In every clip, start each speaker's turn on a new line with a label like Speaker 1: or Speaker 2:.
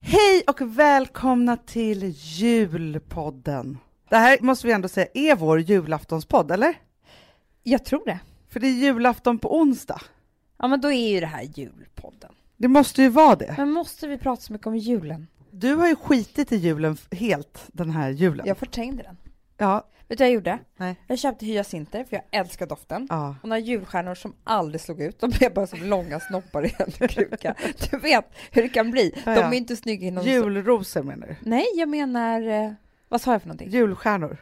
Speaker 1: Hej och välkomna till julpodden. Det här måste vi ändå säga är vår julaftonspodd, eller?
Speaker 2: Jag tror det.
Speaker 1: För det är julafton på onsdag.
Speaker 2: Ja, men då är ju det här julpodden.
Speaker 1: Det måste ju vara det.
Speaker 2: Men måste vi prata så mycket om julen?
Speaker 1: Du har ju skitit i julen f- helt den här julen.
Speaker 2: Jag förträngde den.
Speaker 1: Ja,
Speaker 2: Vet du vad jag gjorde?
Speaker 1: Nej.
Speaker 2: Jag köpte hyacinter för jag älskar doften.
Speaker 1: ja.
Speaker 2: Och några julstjärnor som aldrig slog ut, de blev bara som långa snoppar i en kruka. Du vet hur det kan bli. De
Speaker 1: Ja, ja.
Speaker 2: är inte snygga inom...
Speaker 1: Julrosor menar du?
Speaker 2: Nej, jag menar... eh, Vad sa jag för någonting?
Speaker 1: Julstjärnor.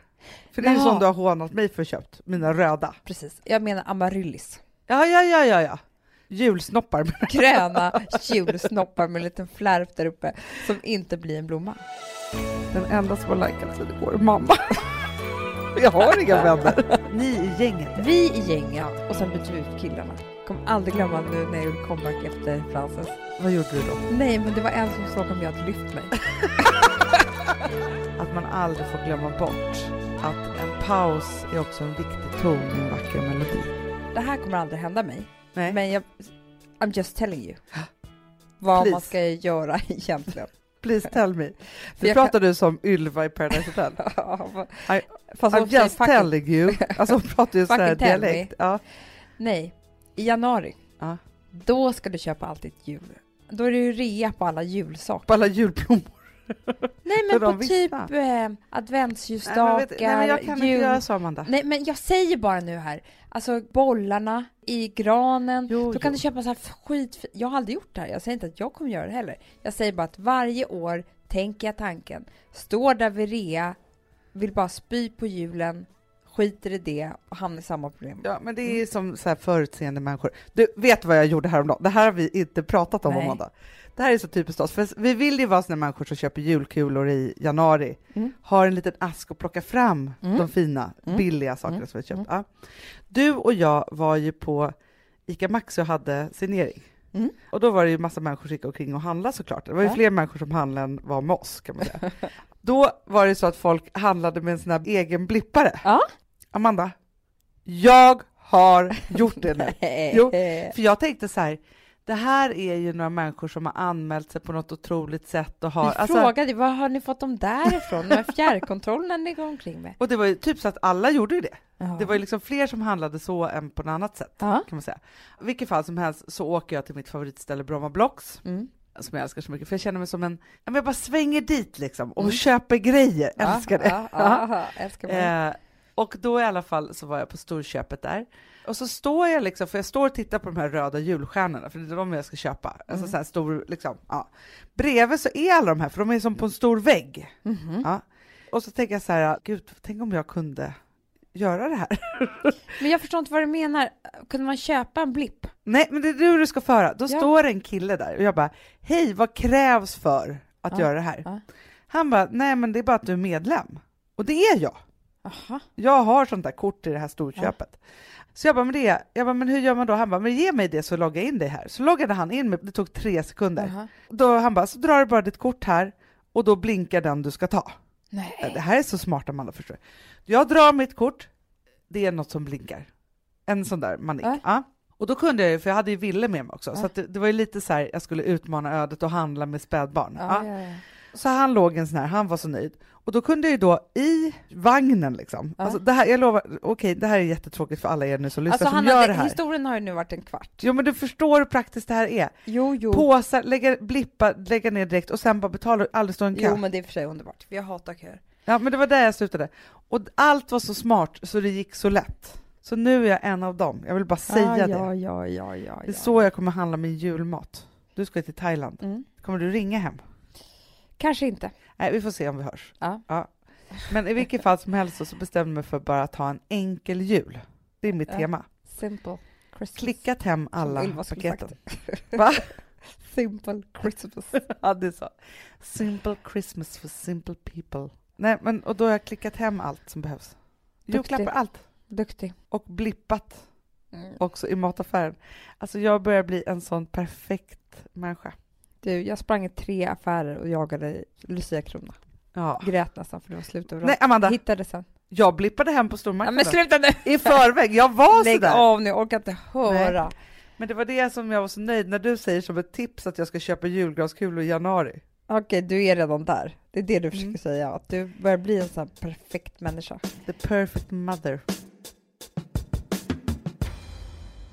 Speaker 1: För det är ju
Speaker 2: Jaha.
Speaker 1: sånt du har hånat mig för köpt, mina röda.
Speaker 2: Precis, jag menar amaryllis.
Speaker 1: Ja, ja, ja, ja, ja. Julsnoppar.
Speaker 2: Gröna julsnoppar med en liten flärp där uppe som inte blir en blomma.
Speaker 1: Den enda som har likat mig det går mamma. Jag har inga vänner. Ni i gänget.
Speaker 2: Vi i gänget och sen byter vi ut killarna. Kommer aldrig glömma nu när jag gjorde comeback efter Frances.
Speaker 1: Vad gjorde du då?
Speaker 2: Nej, men det var en som frågade om jag hade lyft mig.
Speaker 1: Att man aldrig får glömma bort att en paus är också en viktig ton i en vacker melodi.
Speaker 2: Det här kommer aldrig hända mig,
Speaker 1: Nej.
Speaker 2: men jag, I'm just telling you. Vad man
Speaker 1: Please.
Speaker 2: ska göra egentligen.
Speaker 1: Please tell me.
Speaker 2: För
Speaker 1: Nu
Speaker 2: jag kan-
Speaker 1: pratar du som Ylva i Paradise Hotel.
Speaker 2: Ja, vad-
Speaker 1: I-
Speaker 2: Fast hon
Speaker 1: I'm
Speaker 2: säger
Speaker 1: just
Speaker 2: Alltså, fucking-
Speaker 1: telling you. Alltså hon pratar ju så här
Speaker 2: Fucking tell me.
Speaker 1: dialekt. Ja.
Speaker 2: Nej, i januari,
Speaker 1: Ja.
Speaker 2: då ska du köpa allt ditt jul. Då är det ju rea på alla julsaker.
Speaker 1: På alla julblommor.
Speaker 2: Nej,
Speaker 1: för
Speaker 2: men
Speaker 1: de
Speaker 2: på typ
Speaker 1: vissa.
Speaker 2: eh,
Speaker 1: Nej, men vet-
Speaker 2: adventsljusstakar,
Speaker 1: nej men jag kan
Speaker 2: jul...
Speaker 1: inte göra så Amanda.
Speaker 2: Nej, men jag säger bara nu här, alltså bollarna i granen,
Speaker 1: Jo,
Speaker 2: då kan
Speaker 1: jo.
Speaker 2: du köpa så här skit. Jag har aldrig gjort det här, jag säger inte att jag kommer göra det heller. Jag säger bara att varje år tänker jag tanken, står där vid rea, vill bara spy på julen, skiter i det och hamnar i samma problem. Mm.
Speaker 1: Ja, men det är som så här förutseende människor. Du, vet vad jag gjorde häromdagen? Det här har vi inte pratat om
Speaker 2: Nej.
Speaker 1: Amanda. Det här är så typiskt oss, för vi vill ju vara såna människor som köper julkulor i januari,
Speaker 2: Mm.
Speaker 1: har en liten ask och plockar fram
Speaker 2: Mm.
Speaker 1: de fina,
Speaker 2: Mm.
Speaker 1: billiga sakerna
Speaker 2: Mm.
Speaker 1: som vi köpt. Ja. Du och jag var ju på ICA Maxi och hade signering.
Speaker 2: Mm.
Speaker 1: Och då var det ju massa människor som gick omkring och handlade såklart. Det var ju
Speaker 2: Ja.
Speaker 1: fler människor som handlade än var med oss kan man säga. då var det så att folk handlade med en sån här egen blippare.
Speaker 2: Ja.
Speaker 1: Amanda, jag har gjort det nu. Jo.
Speaker 2: Eh,
Speaker 1: För jag tänkte så här, det här är ju några människor som har anmält sig på något otroligt sätt och har... alltså,
Speaker 2: Vi frågade, vad har ni fått dem därifrån? De här fjärrkontrollerna ni går omkring med?
Speaker 1: och det var ju typ så att alla gjorde ju det.
Speaker 2: Ja.
Speaker 1: Det var ju liksom fler som handlade så än på något annat sätt
Speaker 2: Ja.
Speaker 1: kan man säga. I vilket fall som helst så åker jag till mitt favoritställe Bromma Blocks
Speaker 2: Mm.
Speaker 1: som jag älskar så mycket för jag känner mig som en, ja, men jag bara svänger dit liksom och
Speaker 2: Mm.
Speaker 1: köper grejer,
Speaker 2: Ja,
Speaker 1: älskar det.
Speaker 2: Ja, ja, ja, älskar man.
Speaker 1: Eh, och då i alla fall så var jag på storköpet där. Och så står jag liksom, för jag står och tittar på de här röda julstjärnorna, för det är de jag ska köpa.
Speaker 2: Mm.
Speaker 1: Alltså så här stor, liksom, ja. Bredvid så är alla de här, för de är som på en stor vägg.
Speaker 2: Mhm.
Speaker 1: Ja. Och så tänker jag så här, gud, tänk om jag kunde göra det här.
Speaker 2: Men jag förstår inte vad du menar. Kunde man köpa en blipp?
Speaker 1: Nej, men det är du du ska föra. Då
Speaker 2: Ja.
Speaker 1: står en kille där och jag bara, hej, vad krävs för att
Speaker 2: Ja,
Speaker 1: göra det här?
Speaker 2: ja.
Speaker 1: Han bara, nej men det är bara att du är medlem. Och det är jag.
Speaker 2: Aha.
Speaker 1: jag har sånt där kort i det här storköpet. Så jag bara, men det, jag bara, men hur gör man då? Han bara, men ge mig det så loggar jag in dig här. Så loggade han in mig, det tog tre sekunder.
Speaker 2: Aha.
Speaker 1: Då han bara, så drar du bara ditt kort här och då blinkar den du ska ta.
Speaker 2: Nej.
Speaker 1: Det här är så smart Amanda förstår du. Jag drar mitt kort, det är något som blinkar. En sån där manik.
Speaker 2: Ja.
Speaker 1: Ja. Och då kunde jag ju, för jag hade ju Ville med mig också, så
Speaker 2: Ja.
Speaker 1: att det, det var ju lite så här, jag skulle utmana ödet och handla med spädbarn. Ja.
Speaker 2: Ja, ja, ja.
Speaker 1: Så han låg i en sån här, han var så nöjd. Och då kunde jag ju då i vagnen liksom,
Speaker 2: Ja.
Speaker 1: alltså det här, jag lovar, okej det här är jättetråkigt för alla er nu som lyssnar
Speaker 2: Alltså,
Speaker 1: som
Speaker 2: han
Speaker 1: gör
Speaker 2: hade,
Speaker 1: det här.
Speaker 2: historien har ju nu varit en kvart.
Speaker 1: Jo men du förstår hur praktiskt det här är.
Speaker 2: Jo, jo.
Speaker 1: Påsar, lägga, blippa, lägga ner direkt och sen bara betala och aldrig stå i en kö.
Speaker 2: jo, men det är för sig underbart. Vi hatar köer.
Speaker 1: Ja men det var där jag slutade. Och allt var så smart så det gick så lätt. Så nu är jag en av dem, jag vill bara säga
Speaker 2: ah,
Speaker 1: det.
Speaker 2: ja, ja, ja, ja,
Speaker 1: Det är
Speaker 2: ja.
Speaker 1: så jag kommer handla min julmat. Du ska ju till Thailand.
Speaker 2: Mm.
Speaker 1: Kommer du ringa hem?
Speaker 2: Kanske inte.
Speaker 1: Nej, vi får se om vi hörs.
Speaker 2: Ja.
Speaker 1: Men i vilket fall som helst så- så bestämde jag mig för bara att ha en enkel jul. Det är mitt
Speaker 2: Ja.
Speaker 1: tema.
Speaker 2: Simple Christmas.
Speaker 1: Klickat hem alla
Speaker 2: Ylva skulle
Speaker 1: paketen.
Speaker 2: Simple Christmas.
Speaker 1: Ja, det är så. Simple Christmas for simple people. Nej, men och då har jag klickat hem allt som behövs.
Speaker 2: Duktig.
Speaker 1: Julklappar, allt.
Speaker 2: Duktig.
Speaker 1: Och blippat
Speaker 2: Mm.
Speaker 1: också i mataffären. Alltså jag börjar bli en sån perfekt människa.
Speaker 2: Du, jag sprang i tre affärer och jagade Lucia-krona.
Speaker 1: Ja.
Speaker 2: Grät nästan för det var slut överallt.
Speaker 1: Ah. Nej, Amanda,
Speaker 2: Hittade sen.
Speaker 1: jag blippade hem på
Speaker 2: Ja,
Speaker 1: stormarknaden
Speaker 2: men sluta nu!
Speaker 1: i förväg. Jag var
Speaker 2: Lägg
Speaker 1: sådär.
Speaker 2: av nu, jag orkar inte höra.
Speaker 1: Men det var det som jag var så nöjd när du säger som ett tips att jag ska köpa julgranskulor i januari.
Speaker 2: Okej, du är redan där. Det är det du försöker
Speaker 1: Mm.
Speaker 2: säga, att du börjar bli en sån här perfekt människa.
Speaker 1: The perfect mother.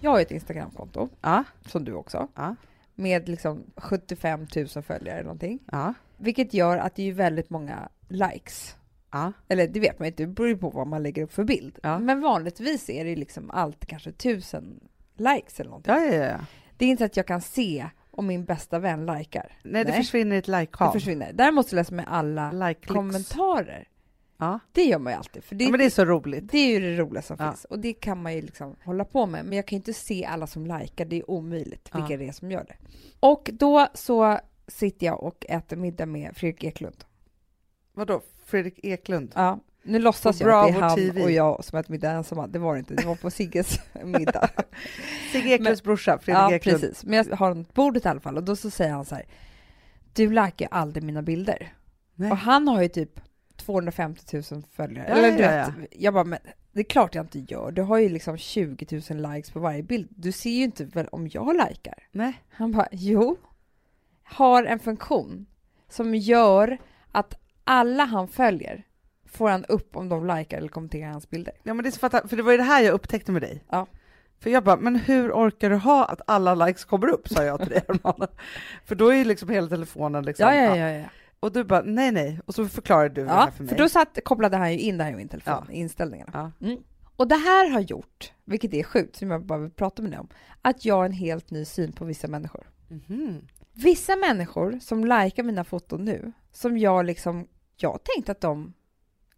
Speaker 2: Jag har ju ett Instagramkonto,
Speaker 1: Ja,
Speaker 2: som du också,
Speaker 1: Ja.
Speaker 2: med liksom 75 000 följare eller någonting.
Speaker 1: ja,
Speaker 2: Vilket gör att det är ju väldigt många likes.
Speaker 1: ja.
Speaker 2: Eller det vet man ju inte, det beror ju på vad man lägger upp för bild.
Speaker 1: Ja.
Speaker 2: Men vanligtvis är det liksom alltid kanske 1000 likes eller någonting.
Speaker 1: Ja, ja, ja.
Speaker 2: Det är inte så att jag kan se om min bästa vän likar.
Speaker 1: Nej, det
Speaker 2: Nej.
Speaker 1: försvinner i ett
Speaker 2: Det
Speaker 1: like-hav.
Speaker 2: försvinner. Däremot så läser man alla
Speaker 1: Like-klicks.
Speaker 2: kommentarer.
Speaker 1: Ja.
Speaker 2: Det gör man ju alltid. För det,
Speaker 1: ja, men det är så roligt.
Speaker 2: det är ju det roliga som
Speaker 1: Ja.
Speaker 2: finns. Och det kan man ju liksom hålla på med. Men jag kan ju inte se alla som likar, det är omöjligt
Speaker 1: Ja.
Speaker 2: vilka det är som gör det. Och då så sitter jag och äter middag med Fredrik Eklund.
Speaker 1: Vadå, Fredrik Eklund?
Speaker 2: Ja. Nu låtsas
Speaker 1: På
Speaker 2: jag att det är
Speaker 1: Bravo
Speaker 2: han
Speaker 1: TV.
Speaker 2: och jag som äter middag ensamma. Det var det inte, det var på Sigges middag.
Speaker 1: Sigge Eklunds brorsa, Fredrik
Speaker 2: ja,
Speaker 1: Eklund.
Speaker 2: precis. Men jag har honom på bordet i alla fall och då så säger han så här. Du likar ju aldrig mina bilder.
Speaker 1: Nej.
Speaker 2: Och han har ju typ 250 000 följare.
Speaker 1: Ja,
Speaker 2: Eller
Speaker 1: ja,
Speaker 2: du
Speaker 1: ja,
Speaker 2: vet, jag bara, men det är klart jag inte gör. Du har ju liksom 20 000 likes på varje bild. Du ser ju inte väl om jag likar.
Speaker 1: Nej.
Speaker 2: Han bara, jo. Har en funktion som gör att alla han följer får han upp om de likar eller kommenterar hans bilder.
Speaker 1: Ja, men det är så fattar, för det var ju det här jag upptäckte med dig.
Speaker 2: Ja.
Speaker 1: För jag bara, men hur orkar du ha att alla likes kommer upp, sa jag till dig häromdagen. För då är ju liksom hela telefonen liksom.
Speaker 2: Ja, ja, ja. ja.
Speaker 1: Och du bara, nej, nej. Och så förklarade du det här
Speaker 2: Ja,
Speaker 1: för
Speaker 2: för,
Speaker 1: mig.
Speaker 2: då satt, kopplade han ju in det här i min telefon,
Speaker 1: Ja.
Speaker 2: i inställningarna.
Speaker 1: Ja.
Speaker 2: Mm. Och det här har gjort, vilket är sjukt, som jag bara vill prata med dig om, att jag har en helt ny syn på vissa människor.
Speaker 1: Mhm.
Speaker 2: Vissa människor som likar mina foton nu, som jag liksom, jag tänkte att de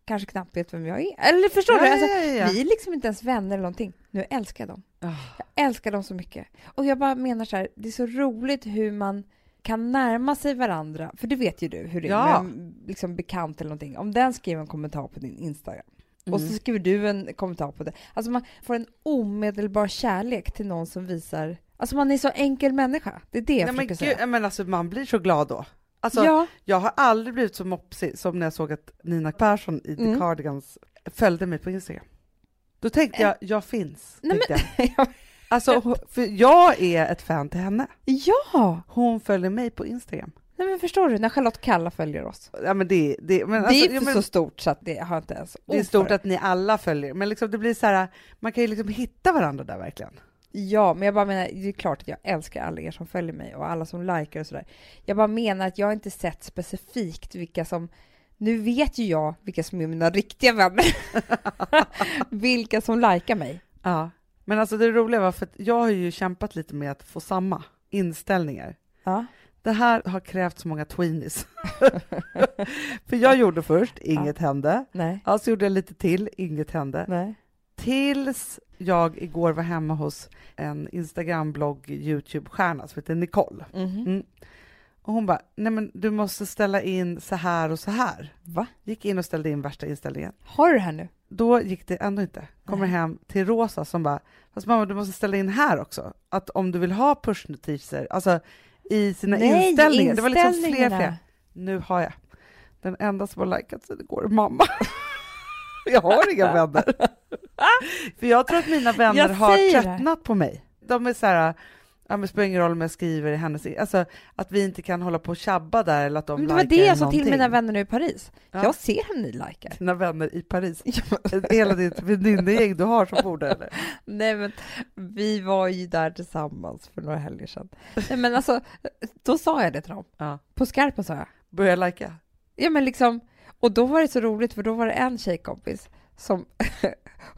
Speaker 2: kanske knappt vet vem jag är. Eller förstår
Speaker 1: Ja,
Speaker 2: du?
Speaker 1: ja,
Speaker 2: Alltså,
Speaker 1: ja, ja.
Speaker 2: Vi är liksom inte ens vänner eller någonting. Nu älskar jag dem.
Speaker 1: Ah.
Speaker 2: Jag älskar dem så mycket. Och jag bara menar så här, det är så roligt hur man kan närma sig varandra. För det vet ju du hur det är
Speaker 1: Ja.
Speaker 2: med en liksom bekant eller någonting. Om den skriver en kommentar på din Instagram och så
Speaker 1: Mm.
Speaker 2: skriver du en kommentar på det. Alltså man får en omedelbar kärlek till någon som visar... Alltså man är så enkel människa. Det är det jag
Speaker 1: Nej, men,
Speaker 2: försöker
Speaker 1: gud,
Speaker 2: säga.
Speaker 1: ja, men alltså, man blir så glad då. Alltså,
Speaker 2: ja,
Speaker 1: Jag har aldrig blivit så mopsig som när jag såg att Nina Persson i The
Speaker 2: Mm.
Speaker 1: Cardigans följde mig på Instagram. Då tänkte jag, jag finns.
Speaker 2: Eh. Nej,
Speaker 1: tänkte jag.
Speaker 2: jag
Speaker 1: Alltså, hon- för jag är ett fan till henne.
Speaker 2: ja!
Speaker 1: Hon följer mig på Instagram.
Speaker 2: Nej, men förstår du, när Charlotte Kalla följer oss.
Speaker 1: Ja, men det, det, men
Speaker 2: det är
Speaker 1: alltså,
Speaker 2: inte
Speaker 1: ja, men,
Speaker 2: så stort så att det har jag inte ens
Speaker 1: det är
Speaker 2: ord
Speaker 1: stort
Speaker 2: för.
Speaker 1: att ni alla följer, men liksom, det blir så här, man kan ju liksom hitta varandra där verkligen.
Speaker 2: Ja, men jag bara menar, det är klart att jag älskar alla er som följer mig och alla som likar och sådär. Jag bara menar att jag har inte sett specifikt vilka som, nu vet ju jag vilka som är mina riktiga vänner. vilka som likar mig.
Speaker 1: Ja. Men alltså det roliga var för att jag har ju kämpat lite med att få samma inställningar.
Speaker 2: Ja.
Speaker 1: Det här har krävt så många tweenies. för jag gjorde först, inget hände.
Speaker 2: Nej.
Speaker 1: Alltså gjorde jag lite till, inget hände.
Speaker 2: Nej.
Speaker 1: Tills jag igår var hemma hos en Instagram-blogg Youtube-stjärna som heter Nicole.
Speaker 2: Mhm.
Speaker 1: Mm. Och hon bara, nej men du måste ställa in så här och så här.
Speaker 2: Va?
Speaker 1: Gick in och ställde in värsta inställningen.
Speaker 2: Har du det här nu?
Speaker 1: Då gick det ändå inte. Kommer
Speaker 2: Nej.
Speaker 1: hem till Rosa som bara, fast mamma du måste ställa in här också. Att om du vill ha pushnotiser, alltså i sina inställningar. Det var liksom fler,
Speaker 2: inställningarna.
Speaker 1: fler. Nu har jag. Den enda som har likat sig, det går är mamma. jag har inga vänner. För jag tror att mina vänner
Speaker 2: Jag
Speaker 1: har
Speaker 2: säger det.
Speaker 1: tröttnat på mig. De är så här, ja men det spelar ingen roll om jag skriver i hennes, alltså att vi inte kan hålla på och tjabba där eller att de
Speaker 2: Men det var
Speaker 1: likar
Speaker 2: det jag sa till
Speaker 1: någonting.
Speaker 2: mina vänner nu i Paris.
Speaker 1: Ja.
Speaker 2: Jag ser hur ni likar.
Speaker 1: Dina vänner i Paris. Hela ditt väninnegäng du har som bor där eller?
Speaker 2: Nej men vi var ju där tillsammans för några helger sedan. Nej men alltså, då sa jag det till dem.
Speaker 1: Ja.
Speaker 2: På skarpen sa jag.
Speaker 1: Börjar lajka.
Speaker 2: Ja men liksom, och då var det så roligt för då var det en tjejkompis som,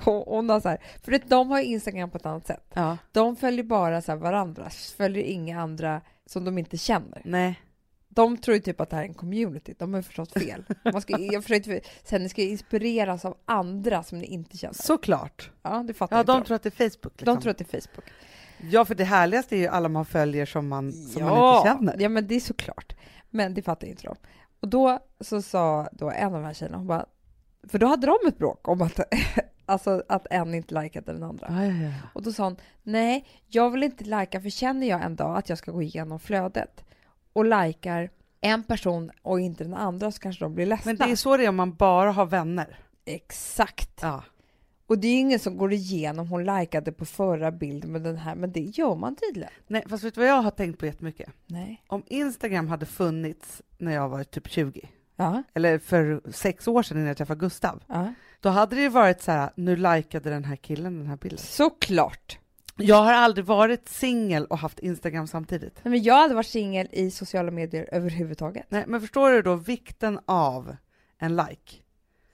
Speaker 2: hon, hon har så här, för att de har ju Instagram på ett annat sätt.
Speaker 1: Ja.
Speaker 2: De följer bara så här varandra, följer inga andra som de inte känner.
Speaker 1: Nej.
Speaker 2: De tror ju typ att det här är en community, de har ju förstått fel. Man ska, jag försökte sen ni ska ju inspireras av andra som ni inte känner.
Speaker 1: Såklart.
Speaker 2: Ja, det fattar
Speaker 1: Ja,
Speaker 2: inte
Speaker 1: de tror att det är Facebook.
Speaker 2: de.
Speaker 1: Liksom.
Speaker 2: de tror att det är Facebook.
Speaker 1: Ja, för det härligaste är ju alla man följer som man, som man inte känner.
Speaker 2: Ja, men det är såklart. Men det fattar inte de. Och då så sa då en av de här tjejerna, hon bara, för då hade de ett bråk om att, alltså, att en inte likade den andra.
Speaker 1: Ja, ja, ja.
Speaker 2: Och då sa hon, nej, jag vill inte lika för känner jag en dag att jag ska gå igenom flödet och likar en person och inte den andra så kanske de blir ledsna.
Speaker 1: Men det är så det är om man bara har vänner.
Speaker 2: Exakt.
Speaker 1: Ja.
Speaker 2: Och det är ju ingen som går igenom, hon likade på förra bilden med den här, men det gör man tydligen.
Speaker 1: Nej, fast vet du vad jag har tänkt på jättemycket?
Speaker 2: Nej.
Speaker 1: Om Instagram hade funnits när jag var typ 20,
Speaker 2: Ja,
Speaker 1: eller för sex år sedan innan jag träffade Gustav,
Speaker 2: ja.
Speaker 1: då hade det ju varit så här, nu likade den här killen den här bilden.
Speaker 2: Såklart.
Speaker 1: Jag har aldrig varit singel och haft Instagram samtidigt.
Speaker 2: Nej, men jag har aldrig varit singel i sociala medier överhuvudtaget.
Speaker 1: Nej, men förstår du då vikten av en like?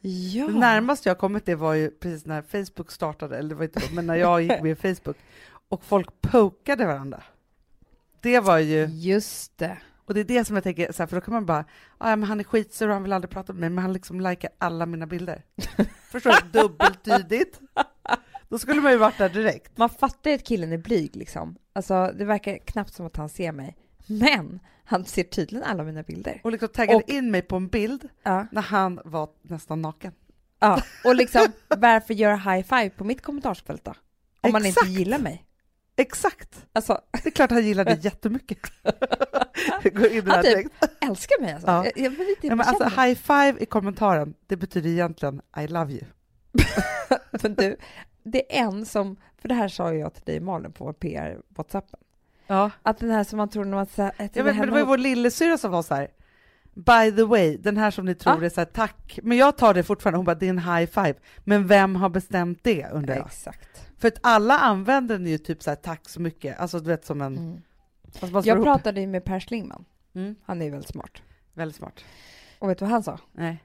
Speaker 2: Ja.
Speaker 1: Det närmaste jag kommit det var ju precis när Facebook startade, eller det var inte då, men när jag gick med i Facebook och folk pokade varandra. Det var ju,
Speaker 2: Just det.
Speaker 1: och det är det som jag tänker, så här, för då kan man bara, "Ah, ja men han är skitsur och han vill aldrig prata med mig, men han liksom likar alla mina bilder. Förstår du? Dubbeltydigt. Då skulle man ju varit där direkt.
Speaker 2: Man fattar ju att killen är blyg liksom. Alltså det verkar knappt som att han ser mig. Men han ser tydligen alla mina bilder.
Speaker 1: Och liksom taggade
Speaker 2: Och-
Speaker 1: in mig på en bild
Speaker 2: Ja.
Speaker 1: när han var nästan naken.
Speaker 2: ja. Och liksom varför göra high five på mitt kommentarsfält då? Om man inte
Speaker 1: Exakt.
Speaker 2: gillar mig.
Speaker 1: Exakt!
Speaker 2: Alltså
Speaker 1: Det är klart han gillade det jättemycket. Går in i det här
Speaker 2: Han typ-
Speaker 1: direkt.
Speaker 2: älskar mig alltså.
Speaker 1: Ja.
Speaker 2: Jag, jag vill inte
Speaker 1: Ja, men alltså,
Speaker 2: känna
Speaker 1: high five i kommentaren, det betyder egentligen I love you.
Speaker 2: Men du, det är en som, för det här sa ju jag till dig Malin på vår PR WhatsAppen,
Speaker 1: Ja.
Speaker 2: att den här som man tror när man säger att
Speaker 1: Jag vet, men det var ju vår lillasyrra som var så här. By the way, den här som ni tror är så här, tack, men jag tar det fortfarande. Hon bara, det är en high five. Men vem har bestämt det undrar jag?
Speaker 2: Exakt.
Speaker 1: För att alla använder den ju typ så här, tack så mycket. Alltså du vet som en...
Speaker 2: Mm.
Speaker 1: Alltså, man slår
Speaker 2: Jag
Speaker 1: ihop.
Speaker 2: pratade ju med Per Schlingmann,
Speaker 1: Mm,
Speaker 2: han är ju väldigt smart.
Speaker 1: väldigt smart.
Speaker 2: Och vet du vad han sa?
Speaker 1: Nej.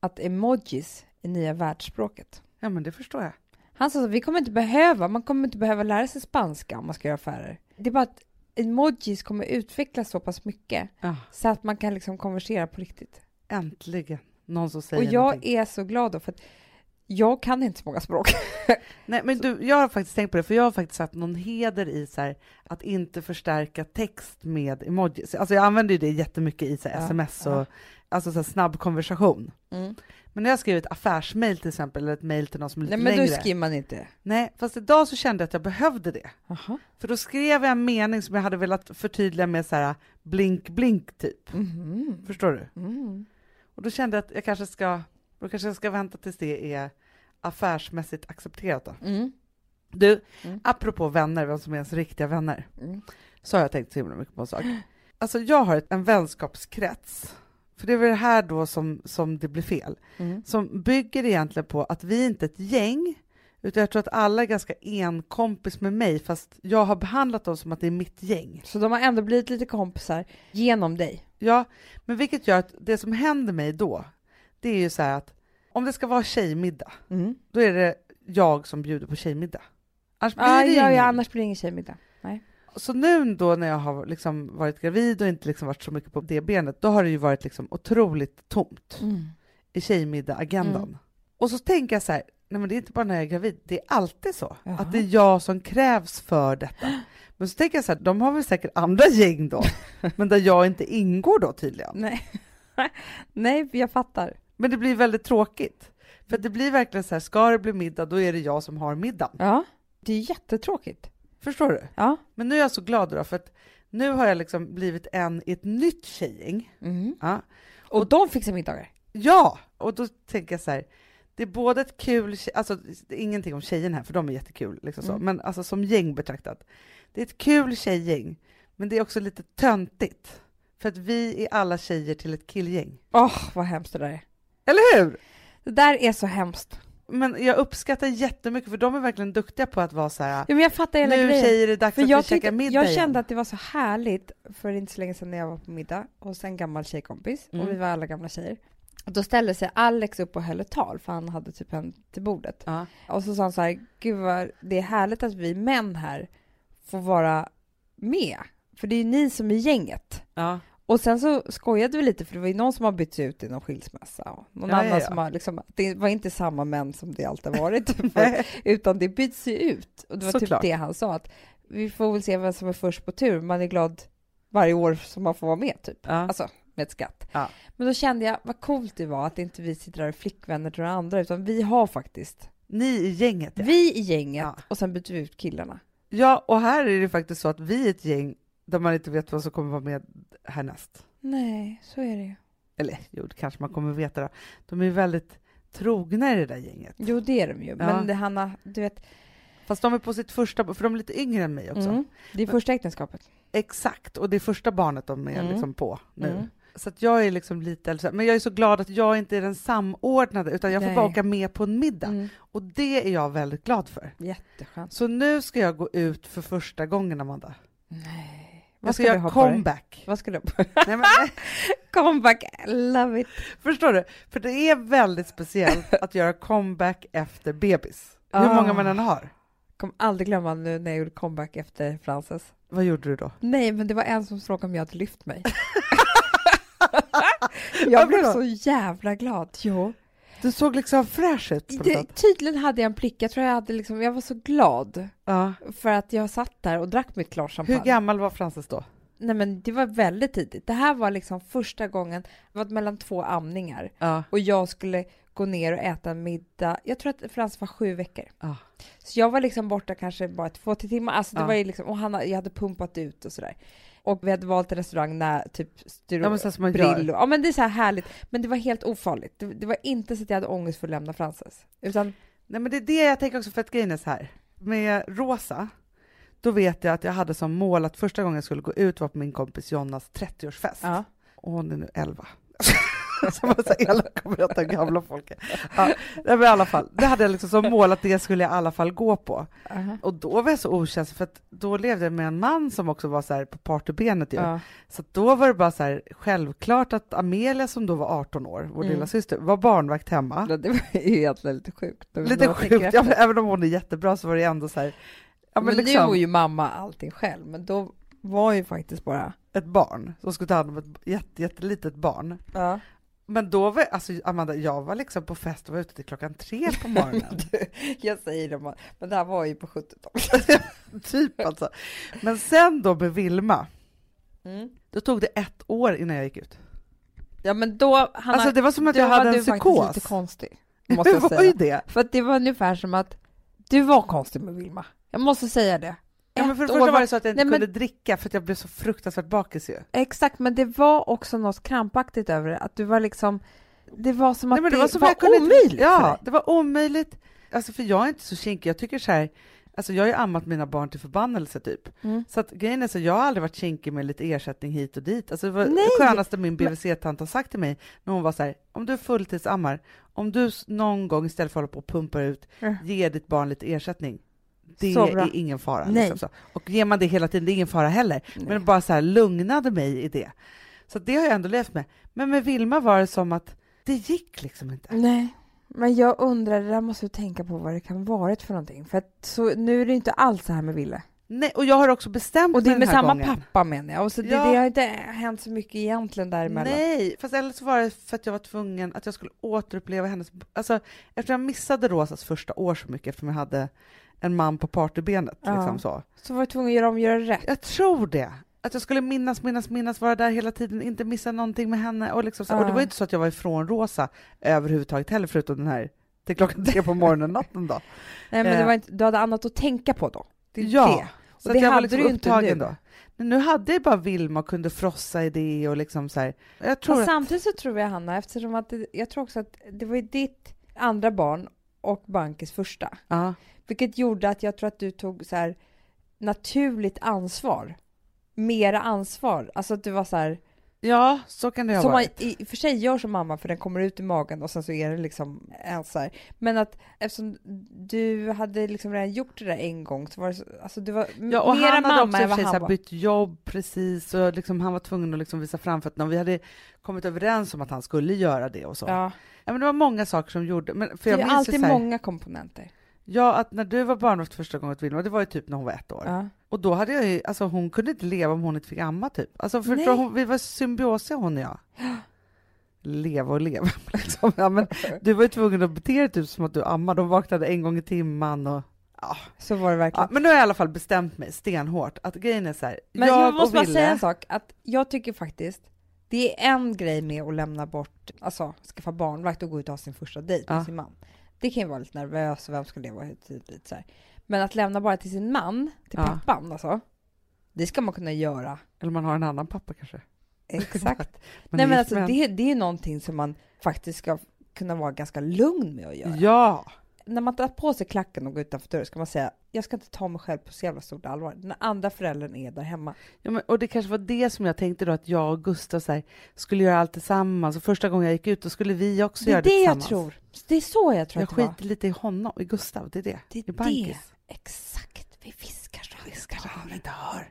Speaker 2: Att emojis är nya världsspråket.
Speaker 1: Ja men det förstår jag.
Speaker 2: Han sa att vi kommer inte behöva, man kommer inte behöva lära sig spanska om man ska göra affärer. Det är bara att emojis kommer utvecklas så pass mycket
Speaker 1: Ja,
Speaker 2: så att man kan liksom konversera på riktigt.
Speaker 1: äntligen någon som säger
Speaker 2: Och jag
Speaker 1: någonting.
Speaker 2: är så glad då för att jag kan inte så många språk.
Speaker 1: Nej men du, jag har faktiskt tänkt på det, för jag har faktiskt satt någon heder i så här, att inte förstärka text med emojis. Alltså jag använder ju det jättemycket i så här,
Speaker 2: Ja,
Speaker 1: sms och
Speaker 2: ja.
Speaker 1: alltså, så här, snabb konversation.
Speaker 2: Mm.
Speaker 1: Men när jag skrev ett affärsmail till exempel, eller ett mail till någon som är lite
Speaker 2: Nej men då
Speaker 1: längre.
Speaker 2: skriver man inte.
Speaker 1: Nej, fast idag så kände jag att jag behövde det.
Speaker 2: Aha.
Speaker 1: För då skrev jag en mening som jag hade velat förtydliga med så här blink blink typ.
Speaker 2: Mhm.
Speaker 1: Förstår du?
Speaker 2: Mm.
Speaker 1: Och då kände jag att jag kanske ska, då kanske jag ska vänta tills det är affärsmässigt accepterat då.
Speaker 2: Mm.
Speaker 1: Du,
Speaker 2: Mm.
Speaker 1: apropå vänner, vem som är ens riktiga vänner,
Speaker 2: Mm.
Speaker 1: så har jag tänkt så himla mycket på en sak. Alltså jag har ett- en vänskapskrets, för det är väl det här då som, som det blir fel.
Speaker 2: Mm.
Speaker 1: som bygger egentligen på att vi inte är ett gäng, utan jag tror att alla är ganska enkompis med mig, fast jag har behandlat dem som att det är mitt gäng.
Speaker 2: Så de har ändå blivit lite kompisar genom dig.
Speaker 1: Ja, men vilket gör att det som händer mig då, det är ju så här att om det ska vara tjejmiddag,
Speaker 2: Mm.
Speaker 1: då är det jag som bjuder på tjejmiddag. Annars blir
Speaker 2: Ah,
Speaker 1: det
Speaker 2: ja, ja,
Speaker 1: ingen.
Speaker 2: annars blir det ingen tjejmiddag.
Speaker 1: Så nu då när jag har liksom varit gravid och inte liksom varit så mycket på det benet, då har det ju varit liksom otroligt tomt.
Speaker 2: Mm.
Speaker 1: i tjejmiddag-agendan.
Speaker 2: Mm.
Speaker 1: Och så tänker jag så här, nej men det är inte bara när jag är gravid, det är alltid så.
Speaker 2: Jaha.
Speaker 1: Att det är jag som krävs för detta. Men så tänker jag så här, de har väl säkert andra gäng då, men där jag inte ingår då tydligen.
Speaker 2: Nej. Nej, jag fattar.
Speaker 1: Men det blir väldigt tråkigt. För att det blir verkligen så här, ska det bli middag, då är det jag som har middagen.
Speaker 2: Ja. Det är jättetråkigt.
Speaker 1: Förstår du?
Speaker 2: Ja.
Speaker 1: Men nu är jag så glad då, för att nu har jag liksom blivit en i ett nytt tjejgäng.
Speaker 2: Mm.
Speaker 1: Ja.
Speaker 2: Och, de fixar middagar.
Speaker 1: Ja, och då tänker jag så här, det är både ett kul, alltså det är ingenting om tjejerna här, för de är jättekul, liksom så.
Speaker 2: Mm.
Speaker 1: men alltså som gäng betraktat. Det är ett kul tjejgäng, men det är också lite töntigt. För att vi är alla tjejer till ett killgäng.
Speaker 2: Åh, vad hemskt det där är.
Speaker 1: Eller hur?
Speaker 2: Det där är så hemskt.
Speaker 1: Men jag uppskattar jättemycket, för de är verkligen duktiga på att vara så här,
Speaker 2: Ja, men jag fattar hela
Speaker 1: nu
Speaker 2: grejen.
Speaker 1: tjejer är det dags
Speaker 2: För
Speaker 1: att
Speaker 2: jag,
Speaker 1: vi käkar
Speaker 2: tyckte,
Speaker 1: middag
Speaker 2: jag
Speaker 1: igen."
Speaker 2: kände att det var så härligt för inte så länge sedan när jag var på middag hos en gammal tjejkompis
Speaker 1: Mm.
Speaker 2: och vi var alla gamla tjejer. Och då ställde sig Alex upp och höll ett tal för han hade typ en till bordet.
Speaker 1: Ja.
Speaker 2: Och så sa han så här, gud vad det är härligt att vi män här får vara med. För det är ju ni som är gänget.
Speaker 1: Ja.
Speaker 2: Och sen så skojade vi lite för det var ju någon som har bytts ut i någon skilsmässa och någon
Speaker 1: Ja, ja,
Speaker 2: annan
Speaker 1: ja.
Speaker 2: som har liksom, det var inte samma män som det alltid har varit. förut utan det byts ju ut. Och det var
Speaker 1: Såklart.
Speaker 2: typ det han sa, att vi får väl se vem som är först på tur, man är glad varje år som man får vara med typ,
Speaker 1: Ja.
Speaker 2: alltså med ett skatt.
Speaker 1: Ja.
Speaker 2: Men då kände jag, vad coolt det var att inte vi sitter där och är flickvänner till några andra, utan vi har faktiskt,
Speaker 1: Ni i gänget, ja.
Speaker 2: vi i gänget
Speaker 1: Ja.
Speaker 2: och sen byter vi ut killarna.
Speaker 1: ja. och här är det faktiskt så att vi är ett gäng där man inte vet vad som kommer vara med härnäst.
Speaker 2: Nej, så är det ju.
Speaker 1: eller jo, det kanske man kommer veta då. De är ju väldigt trogna i det där gänget.
Speaker 2: Jo, det är de ju. Men det, Hanna, du vet...
Speaker 1: Fast de är på sitt första, för de är lite yngre än mig också.
Speaker 2: Mm, det är första äktenskapet.
Speaker 1: Exakt, och det är första barnet de är
Speaker 2: Mm.
Speaker 1: liksom på nu.
Speaker 2: Mm.
Speaker 1: Så att jag är liksom lite, äldre. men jag är så glad att jag inte är den samordnade, utan jag får
Speaker 2: Nej.
Speaker 1: bara åka med på en middag.
Speaker 2: Mm.
Speaker 1: Och det är jag väldigt glad för.
Speaker 2: Jätteskönt.
Speaker 1: Så nu ska jag gå ut för första gången, Amanda.
Speaker 2: Nej.
Speaker 1: Jag
Speaker 2: Vad
Speaker 1: ska,
Speaker 2: ska
Speaker 1: göra
Speaker 2: du ha på dig?
Speaker 1: comeback.
Speaker 2: Vad ska du ha på dig?
Speaker 1: Nej, men, nej,
Speaker 2: Comeback, love it.
Speaker 1: förstår du? För det är väldigt speciellt att göra comeback efter bebis. Hur
Speaker 2: Ah.
Speaker 1: många man än har.
Speaker 2: Kommer aldrig glömma nu när jag gjorde comeback efter Frances.
Speaker 1: Vad gjorde du då?
Speaker 2: Nej, men det var en som frågade om jag hade lyft mig.
Speaker 1: Varför
Speaker 2: jag blev
Speaker 1: då?
Speaker 2: så jävla glad. Jo.
Speaker 1: Du såg liksom fräsch ut på något
Speaker 2: Det,
Speaker 1: sätt.
Speaker 2: tydligen hade jag en prick. Jag tror jag hade liksom, jag var så glad
Speaker 1: Ja.
Speaker 2: för att jag satt där och drack mitt glas champagne.
Speaker 1: Hur gammal var Frances då?
Speaker 2: Nej men det var väldigt tidigt. Det här var liksom första gången, det var mellan två amningar
Speaker 1: Ja.
Speaker 2: och jag skulle gå ner och äta en middag. Jag tror att Frans var sju veckor.
Speaker 1: Ja.
Speaker 2: Så jag var liksom borta kanske bara två, tre timmar. Alltså det
Speaker 1: Ja.
Speaker 2: var ju liksom, och han, jag hade pumpat ut och sådär. Och vi hade valt en restaurang när typ
Speaker 1: Ja, men
Speaker 2: styr
Speaker 1: så som man
Speaker 2: Brillo.
Speaker 1: gör.
Speaker 2: Ja men det är så här härligt. Men det var helt ofarligt. Det, det var inte så att jag hade ångest för att lämna Frances. Utan
Speaker 1: Nej, men det är det jag tänker också, för att grejen är så här. Med Rosa, då vet jag att jag hade som mål att första gången jag skulle gå ut var på min kompis Jonas 30-årsfest.
Speaker 2: ja.
Speaker 1: och hon är nu 11. Som var så elak och berätta hur gamla folk är. Ja, nej, men i alla fall, det hade jag liksom som mål att det skulle jag i alla fall gå på.
Speaker 2: Aha.
Speaker 1: Och då var jag så okänslig för att då levde jag med en man som också var så här på partybenet ju.
Speaker 2: Ja.
Speaker 1: Så att då var det bara så här självklart att Amelia som då var 18 år, vår
Speaker 2: Mm.
Speaker 1: lilla syster, var barnvakt hemma.
Speaker 2: Det var ju egentligen lite sjukt. när
Speaker 1: Lite
Speaker 2: man tänker
Speaker 1: sjukt,
Speaker 2: efter.
Speaker 1: ja, men även om hon är jättebra så var det ändå så här, ja men,
Speaker 2: men nu är
Speaker 1: liksom
Speaker 2: ju mamma allting själv, men då var ju faktiskt bara...
Speaker 1: ett barn som skulle ta hand om ett jätte, jättelitet barn.
Speaker 2: Ja.
Speaker 1: Men då var, alltså Amanda, jag var liksom på fest och var ute till klockan tre på morgonen.
Speaker 2: Jag säger det, man- men det här var ju på 70-talet.
Speaker 1: typ alltså. Men sen då med Vilma,
Speaker 2: Mm.
Speaker 1: då tog det ett år innan jag gick ut.
Speaker 2: Ja, men då... Han
Speaker 1: alltså det var som att jag hade en
Speaker 2: var du
Speaker 1: psykos.
Speaker 2: faktiskt lite konstig, måste
Speaker 1: Det
Speaker 2: jag
Speaker 1: var ju
Speaker 2: säga.
Speaker 1: det.
Speaker 2: För att det var ungefär som att du var konstig med Vilma. Jag måste säga det.
Speaker 1: Ja, men för
Speaker 2: Ett
Speaker 1: det
Speaker 2: år
Speaker 1: första var det så att jag inte
Speaker 2: Nej, men-
Speaker 1: kunde dricka för att jag blev så fruktansvärt bakis ju.
Speaker 2: Exakt, men det var också något krampaktigt över det, att du var liksom... Det var som att
Speaker 1: Nej, men
Speaker 2: det, var,
Speaker 1: som jag kunde inte-
Speaker 2: omöjligt för
Speaker 1: Ja,
Speaker 2: dig.
Speaker 1: det var omöjligt. Alltså för jag är inte så kinkig, jag tycker så här, alltså jag har ju ammat mina barn till förbannelse typ.
Speaker 2: Mm.
Speaker 1: Så att grejen är så, jag har aldrig varit kinkig med lite ersättning hit och dit. Alltså det var
Speaker 2: Nej.
Speaker 1: det skönaste min BVC-tant har sagt till mig när hon var så här, om du fulltidsammar, om du s- någon gång istället för att hålla på och pumpa ut,
Speaker 2: Mm.
Speaker 1: ger ditt barn lite ersättning. Det
Speaker 2: Så bra.
Speaker 1: är ingen fara.
Speaker 2: Nej.
Speaker 1: Liksom så. Och ger man det hela tiden, det är ingen fara heller.
Speaker 2: Nej.
Speaker 1: Men bara så här lugnade mig i det. Så det har jag ändå levt med. Men med Vilma var det som att det gick liksom inte.
Speaker 2: Nej, men jag undrar, det där måste du tänka på vad det kan varit för någonting. För att så, nu är det inte alls så här med Ville.
Speaker 1: Nej, och jag har också bestämt
Speaker 2: Och det
Speaker 1: mig
Speaker 2: är med
Speaker 1: den här
Speaker 2: samma
Speaker 1: gången.
Speaker 2: pappa menar jag. Och så det,
Speaker 1: Ja.
Speaker 2: det har inte hänt så mycket egentligen däremellan.
Speaker 1: Nej, fast eller så var det för att jag var tvungen att jag skulle återuppleva hennes... Alltså, eftersom jag missade Rosas första år så mycket eftersom jag hade en man på partybenet.
Speaker 2: Ja.
Speaker 1: Liksom så.
Speaker 2: Så var du tvungen att göra om, göra rätt.
Speaker 1: Jag tror det. Att jag skulle minnas, minnas, minnas, vara där hela tiden, inte missa någonting med henne. Och, liksom så. och det var
Speaker 2: Ja.
Speaker 1: ju inte så att jag var ifrån Rosa överhuvudtaget heller, förutom den här till klockan tre på morgonen natten då.
Speaker 2: Nej, men det
Speaker 1: Eh.
Speaker 2: var inte, du hade annat att tänka på då. Det är
Speaker 1: Ja.
Speaker 2: det.
Speaker 1: Så
Speaker 2: Och
Speaker 1: att
Speaker 2: det
Speaker 1: jag var
Speaker 2: hade
Speaker 1: liksom
Speaker 2: du ju inte
Speaker 1: upptagen
Speaker 2: nu.
Speaker 1: då. Men nu hade jag bara Vilma och kunde frossa i det och liksom så här. Jag tror
Speaker 2: Fast
Speaker 1: att,
Speaker 2: samtidigt så tror jag Hanna, eftersom att det, jag tror också att det var ju ditt andra barn och Bankis första.
Speaker 1: ja.
Speaker 2: Vilket gjorde att jag tror att du tog så här naturligt ansvar. Mera ansvar. Alltså att du var så här,
Speaker 1: ja, så kan det ha
Speaker 2: Som man
Speaker 1: varit.
Speaker 2: i i och för sig gör som mamma för den kommer ut i magen och sen så är den liksom en så här. Men att eftersom du hade liksom redan gjort det där en gång så var det så, alltså du var m-
Speaker 1: Ja, och
Speaker 2: mera
Speaker 1: han hade
Speaker 2: mamma
Speaker 1: också i
Speaker 2: än
Speaker 1: och för
Speaker 2: vad
Speaker 1: sig så
Speaker 2: han
Speaker 1: här
Speaker 2: var.
Speaker 1: bytt jobb precis och liksom han var tvungen att liksom visa framfötterna och vi hade kommit överens om att han skulle göra det och så. Ja.
Speaker 2: Ja.
Speaker 1: men det var många saker som gjorde, men för
Speaker 2: Det
Speaker 1: jag
Speaker 2: är
Speaker 1: minns ju
Speaker 2: alltid
Speaker 1: så här,
Speaker 2: många komponenter.
Speaker 1: ja att när du var barnvakt första gången åt Vilma, det var ju typ när hon var ett år.
Speaker 2: Ja.
Speaker 1: Och då hade jag ju, alltså hon kunde inte leva om hon inte fick amma typ. Alltså förstår
Speaker 2: Nej.
Speaker 1: hon, vi var symbiosiga hon och jag. Leva och leva liksom. Ja, men du var ju tvungen att bete dig typ som att du ammade, de vaknade en gång i timmen och
Speaker 2: Så var det verkligen.
Speaker 1: Ja, men nu har jag i alla fall bestämt mig stenhårt att grejen är så här,
Speaker 2: Men jag,
Speaker 1: och
Speaker 2: måste bara
Speaker 1: Ville-
Speaker 2: säga en sak, att jag tycker faktiskt det är en grej med att lämna bort, alltså skaffa barnvakt och gå ut och ha sin första dejt med
Speaker 1: Ja.
Speaker 2: sin man. Det kan ju vara lite nervös, vem ska leva hit och dit så här. Men att lämna bara till sin man, till
Speaker 1: Ja.
Speaker 2: pappan alltså, det ska man kunna göra.
Speaker 1: Eller man har en annan pappa kanske.
Speaker 2: Exakt.
Speaker 1: Man
Speaker 2: Nej
Speaker 1: är gift
Speaker 2: men alltså
Speaker 1: med en-
Speaker 2: det, det är någonting som man faktiskt ska kunna vara ganska lugn med att göra.
Speaker 1: Ja!
Speaker 2: När man tar på sig klacken och går utanför dörren ska man säga jag ska inte ta mig själv på så jävla stort allvar. När andra föräldern är där hemma.
Speaker 1: Ja, men, och det kanske var det som jag tänkte då, att jag och Gustav så här, skulle göra allt tillsammans. Och första gången jag gick ut, då skulle vi också
Speaker 2: Det
Speaker 1: göra
Speaker 2: är
Speaker 1: det
Speaker 2: det jag
Speaker 1: tillsammans.
Speaker 2: tror. Det är så jag tror
Speaker 1: Jag
Speaker 2: att det var.
Speaker 1: skiter lite i honom, i Gustav. Det är det.
Speaker 2: Det
Speaker 1: I
Speaker 2: är det.
Speaker 1: Bankis.
Speaker 2: Exakt. Vi viskar så han
Speaker 1: Viskar så han inte hör.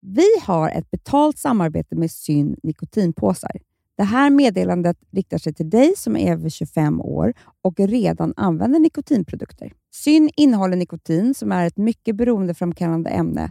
Speaker 3: Vi har ett betalt samarbete med Syn nikotinpåsar. Det här meddelandet riktar sig till dig som är över 25 år och redan använder nikotinprodukter. Syn innehåller nikotin som är ett mycket beroendeframkallande ämne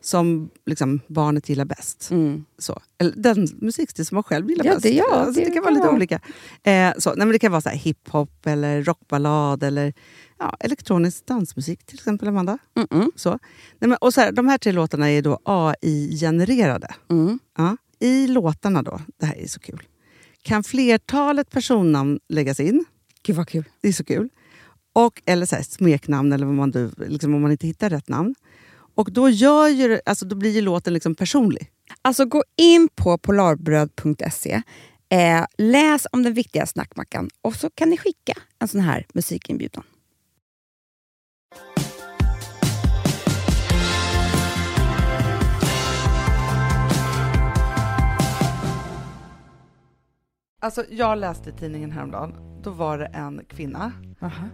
Speaker 4: som liksom, barnet gillar bäst. Så. Eller den musikstil som man själv gillar
Speaker 3: Mm. Ja,
Speaker 4: bäst.
Speaker 3: det- ja,
Speaker 4: alltså, det,
Speaker 3: det
Speaker 4: kan vara
Speaker 3: kan
Speaker 4: lite
Speaker 3: vara.
Speaker 4: olika. Eh, så. Nej, men det kan vara så här hiphop, eller rockballad eller ja, elektronisk dansmusik till exempel, Amanda.
Speaker 3: Mm-mm.
Speaker 4: Så. Nej, men, och så här, de här tre låtarna är då AI-genererade.
Speaker 3: Mm.
Speaker 4: Ja. I låtarna då, det här är så kul, kan flertalet personnamn läggas in.
Speaker 3: Gud vad kul.
Speaker 4: Det är så kul. Och, eller så här, smeknamn, eller vad man, du- liksom, om man inte hittar rätt namn. Och då, gör ju, det- alltså, då blir ju låten liksom personlig.
Speaker 3: Alltså gå in på polarbröd.se Eh, läs om den viktiga snackmackan och så kan ni skicka en sån här musikinbjudan.
Speaker 1: Alltså jag läste i tidningen häromdagen, då var det en kvinna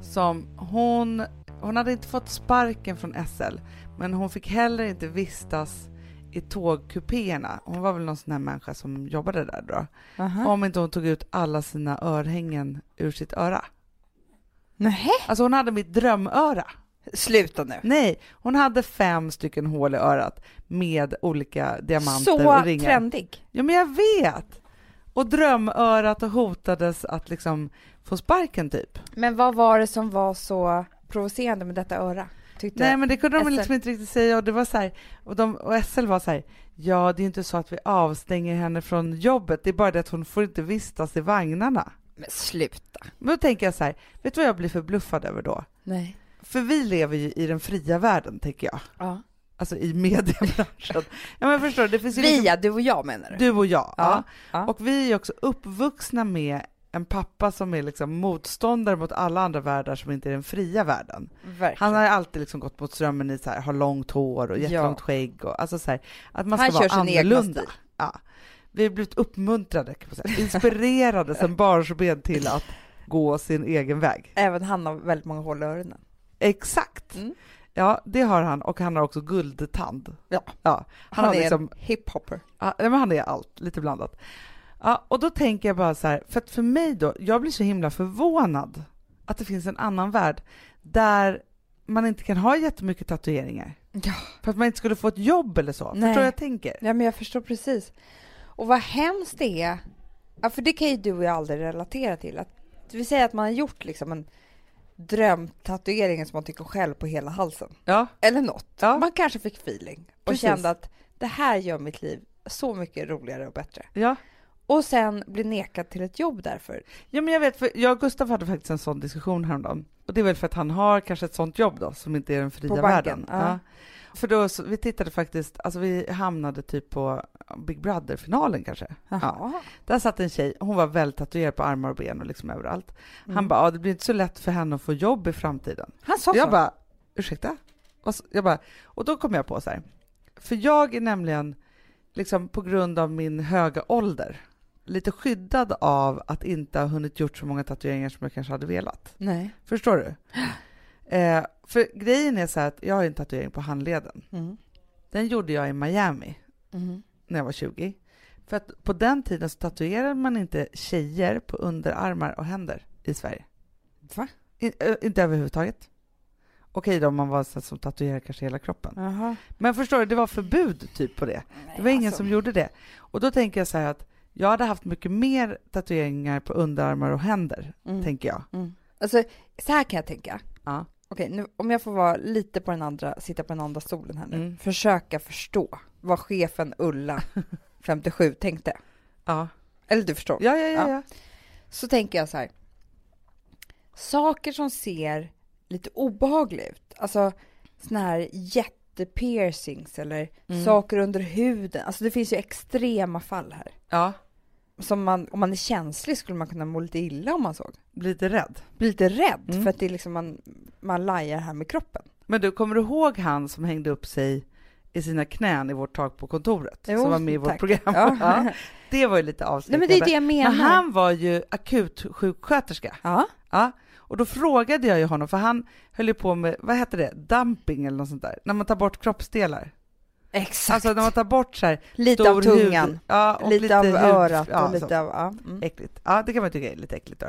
Speaker 1: som hon, hon hade inte fått sparken från SL, men hon fick heller inte vistas i tågkupéerna. Hon var väl någon sån här människa som jobbade där då.
Speaker 4: Mm.
Speaker 2: Aha.
Speaker 1: Om inte hon tog ut alla sina örhängen ur sitt öra.
Speaker 2: Nähä?
Speaker 1: Alltså hon hade mitt drömöra.
Speaker 2: Sluta nu.
Speaker 1: Nej, hon hade fem stycken hål i örat med olika diamanter
Speaker 2: Så
Speaker 1: och ringar.
Speaker 2: trendig.
Speaker 1: Ja men jag vet! Och drömörat och hotades att liksom få sparken typ.
Speaker 2: Men vad var det som var så provocerande med detta öra? Tyckte
Speaker 1: Nej men det kunde de
Speaker 2: SL.
Speaker 1: liksom inte riktigt säga och det var så här, och, de, och SL var så här, ja det är ju inte så att vi avstänger henne från jobbet, det är bara det att hon får inte vistas i vagnarna.
Speaker 2: Men sluta.
Speaker 1: Men då tänker jag så här, vet du vad jag blir förbluffad över då?
Speaker 2: Nej.
Speaker 1: För vi lever ju i den fria världen tänker jag,
Speaker 2: Ja.
Speaker 1: alltså i mediebranschen. ja men förstår du, det finns ju liksom
Speaker 2: Via du och jag menar du?
Speaker 1: du och jag.
Speaker 2: Ja,
Speaker 1: Ja.
Speaker 2: ja.
Speaker 1: Och vi är också uppvuxna med en pappa som är liksom motståndare mot alla andra världar som inte är den fria världen.
Speaker 2: Verkligen.
Speaker 1: Han har ju alltid liksom gått mot strömmen i så här, har långt hår och jättelångt skägg och alltså så här, att man ska
Speaker 2: Han
Speaker 1: vara
Speaker 2: kör sin egna
Speaker 1: annorlunda.
Speaker 2: stil.
Speaker 1: Ja. Vi har blivit uppmuntrade, kan man säga. inspirerade sedan barnsben till att gå sin egen väg.
Speaker 2: Även han har väldigt många hål i öronen.
Speaker 1: Exakt.
Speaker 2: Mm.
Speaker 1: Ja, det har han och han har också guldtand.
Speaker 2: Ja.
Speaker 1: ja. Han,
Speaker 2: Han,
Speaker 1: har
Speaker 2: är
Speaker 1: liksom
Speaker 2: en hiphopper.
Speaker 1: Ja, nej, men han är allt, lite blandat. Ja, och då tänker jag bara så här, för att för mig då, jag blir så himla förvånad att det finns en annan värld där man inte kan ha jättemycket tatueringar.
Speaker 2: Ja.
Speaker 1: För att man inte skulle få ett jobb eller så.
Speaker 2: Nej.
Speaker 1: Förstår vad jag tänker?
Speaker 2: Ja, men jag förstår precis. Och vad hemskt det är. Ja, för det kan ju du och jag aldrig relatera till. Att, det vill säga att man har gjort liksom en drömtatuering som man tycker själv på hela halsen.
Speaker 1: Ja.
Speaker 2: Eller något.
Speaker 1: Ja.
Speaker 2: Man kanske fick feeling och
Speaker 1: Precis.
Speaker 2: kände att det här gör mitt liv så mycket roligare och bättre.
Speaker 1: Ja.
Speaker 2: Och sen blir nekad till ett jobb därför.
Speaker 1: ja, men jag vet, för jag och Gustav hade faktiskt en sån diskussion häromdagen. Och det är väl för att han har kanske ett sånt jobb då, som inte är den fria
Speaker 2: På banken,
Speaker 1: världen.
Speaker 2: ja.
Speaker 1: För då, så, vi tittade faktiskt, alltså vi hamnade typ på Big Brother-finalen kanske.
Speaker 2: Jaha.
Speaker 1: Där satt en tjej, hon var väl tatuerad på armar och ben och liksom överallt.
Speaker 2: Mm.
Speaker 1: Han bara, ja, det blir inte så lätt för henne att få jobb i framtiden.
Speaker 2: Han sa
Speaker 1: jag
Speaker 2: så.
Speaker 1: bara, ursäkta? Och, så, jag bara, och då kom jag på så här, för jag är nämligen, liksom på grund av min höga ålder, lite skyddad av att inte ha hunnit gjort så många tatueringar som jag kanske hade velat.
Speaker 2: Nej.
Speaker 1: Förstår du? Eh, för grejen är så här att jag har ju en tatuering på handleden.
Speaker 2: Mm.
Speaker 1: Den gjorde jag i Miami
Speaker 2: Mm.
Speaker 1: när jag var 20. För att på den tiden så tatuerade man inte tjejer på underarmar och händer i Sverige.
Speaker 2: Va?
Speaker 1: In, ö, inte överhuvudtaget. Okej då om man var sån som tatuerade kanske hela kroppen.
Speaker 2: Jaha. alltså.
Speaker 1: Men förstår du, det var förbud typ på det. Det var ingen som gjorde det. Och då tänker jag så här att jag hade haft mycket mer tatueringar på underarmar och händer,
Speaker 2: Mm.
Speaker 1: tänker jag.
Speaker 2: Mm. Alltså, så här kan jag tänka.
Speaker 1: Ja.
Speaker 2: Okej, nu, om jag får vara lite på den andra, sitta på den andra stolen här nu.
Speaker 1: Mm.
Speaker 2: Försöka förstå vad chefen Ulla, 57, tänkte.
Speaker 1: Ja,
Speaker 2: Eller du förstår.
Speaker 1: ja, ja. ja, ja.
Speaker 2: Så tänker jag så här. Saker som ser lite obehagliga ut. Alltså såna här jättepiercings eller
Speaker 1: Mm.
Speaker 2: saker under huden. Alltså det finns ju extrema fall här.
Speaker 1: ja.
Speaker 2: Som man, om man är känslig skulle man kunna må lite illa om man såg.
Speaker 1: Bli lite rädd.
Speaker 2: Bli lite rädd
Speaker 1: Mm.
Speaker 2: för att det är liksom man, man lajar här med kroppen.
Speaker 1: Men du, kommer du ihåg han som hängde upp sig i sina knän i vårt tak på kontoret?
Speaker 2: Jo,
Speaker 1: som var med i vårt
Speaker 2: tack.
Speaker 1: program.
Speaker 2: Ja.
Speaker 1: Ja. Det var ju lite
Speaker 2: Nej
Speaker 1: avskräckande.
Speaker 2: men det är det jag menar.
Speaker 1: Men han var ju akutsjuksköterska.
Speaker 2: Ja.
Speaker 1: Ja. Och då frågade jag ju honom, för han höll ju på med, vad heter det, dumping eller något sånt där? När man tar bort kroppsdelar.
Speaker 2: Exakt.
Speaker 1: Alltså när man tar bort så här
Speaker 2: lite
Speaker 1: stor
Speaker 2: av tungan,
Speaker 1: hud, ja, och
Speaker 2: lite, av
Speaker 1: hud-
Speaker 2: örat
Speaker 1: ja,
Speaker 2: och lite
Speaker 1: så.
Speaker 2: av... Ja, mm.
Speaker 1: Äckligt. Ja, det kan man tycka är lite äckligt. Då.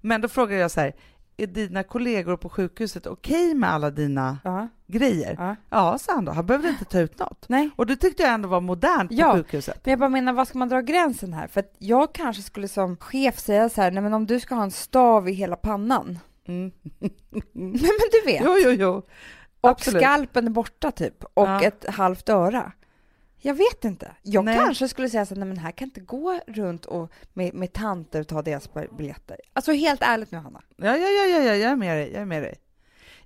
Speaker 1: Men då frågade jag så här, är dina kollegor på sjukhuset okej med alla dina
Speaker 2: ja,
Speaker 1: grejer?
Speaker 2: ja.
Speaker 1: Ja, sa han då. Han behövde inte ta ut något.
Speaker 2: Nej.
Speaker 1: Och det tyckte jag ändå var modernt på
Speaker 2: Ja.
Speaker 1: sjukhuset.
Speaker 2: Men jag bara menar, vad ska man dra gränsen här? För att jag kanske skulle som chef säga så här, nej men om du ska ha en stav i hela pannan.
Speaker 1: Mm.
Speaker 2: Nej men du vet.
Speaker 1: Jo, jo, jo.
Speaker 2: och
Speaker 1: absolut.
Speaker 2: skalpen är borta typ. Och
Speaker 1: Ja.
Speaker 2: ett halvt öra. Jag vet inte. Jag
Speaker 1: Nej.
Speaker 2: kanske skulle säga så här, nej men här kan inte gå runt och med, med tanter och ta deras biljetter. Alltså helt ärligt nu Hanna.
Speaker 1: Ja, ja, ja, ja, ja, jag är med dig. Jag är med dig.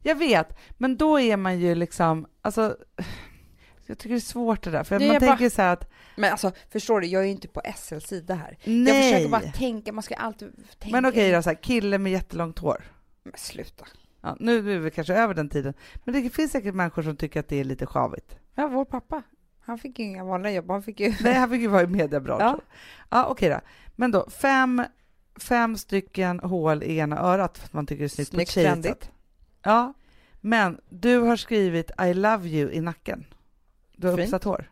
Speaker 1: Jag vet, men då är man ju liksom, alltså, Jag tycker det är svårt det där, för
Speaker 2: Det
Speaker 1: man
Speaker 2: är
Speaker 1: tänker
Speaker 2: bara-
Speaker 1: så här att
Speaker 2: Men alltså, förstår du, jag är ju inte på SLs sida här.
Speaker 1: nej.
Speaker 2: Jag försöker bara tänka, man ska alltid tänka.
Speaker 1: men okej då, så här, kille med jättelångt hår.
Speaker 2: Men sluta.
Speaker 1: Ja, nu är vi kanske över den tiden, men det finns säkert människor som tycker att det är lite sjavigt.
Speaker 2: Ja, vår pappa. Han fick ju inga vanliga jobb, han fick ju...
Speaker 1: Nej, han fick ju vara i mediebranschen.
Speaker 2: Ja.
Speaker 1: Ja. Ja, okej då. Men då, fem, fem stycken hål i ena örat för att man tycker det är snyggt,
Speaker 2: Snyggt,
Speaker 1: på tjejsätt.
Speaker 2: trendigt.
Speaker 1: Ja, men du har skrivit I love you i nacken. Du har
Speaker 2: Fint.
Speaker 1: uppsatt hår.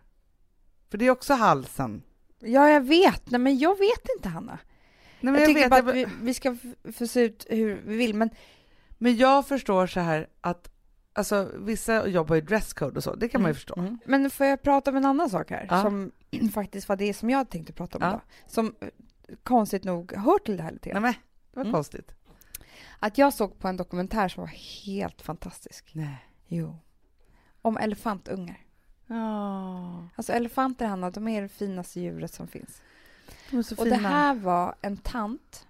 Speaker 1: För det är också halsen.
Speaker 2: Ja, jag vet. Nej, men jag vet inte, Hanna.
Speaker 1: Nej, men,
Speaker 2: Jag,
Speaker 1: jag
Speaker 2: tycker
Speaker 1: vet,
Speaker 2: bara
Speaker 1: jag-
Speaker 2: att vi, vi ska f- få se ut hur vi vill, men
Speaker 1: men jag förstår så här att alltså, vissa jobbar ju dresscode och så, det kan man ju förstå.
Speaker 2: Men får jag prata om en annan sak här,
Speaker 1: Ja.
Speaker 2: som faktiskt var det som jag tänkte prata om
Speaker 1: Ja.
Speaker 2: idag, som eh, konstigt nog hör till det här lite
Speaker 1: Nej,
Speaker 2: grann.
Speaker 1: men, det var
Speaker 2: Mm.
Speaker 1: konstigt.
Speaker 2: Att jag såg på en dokumentär som var helt fantastisk.
Speaker 1: Nej.
Speaker 2: Jo. Om elefantungar.
Speaker 1: Ja,
Speaker 2: Alltså elefanter, Hanna, de är det finaste djuret som finns.
Speaker 1: de är så
Speaker 2: Och
Speaker 1: fina.
Speaker 2: det här var en tant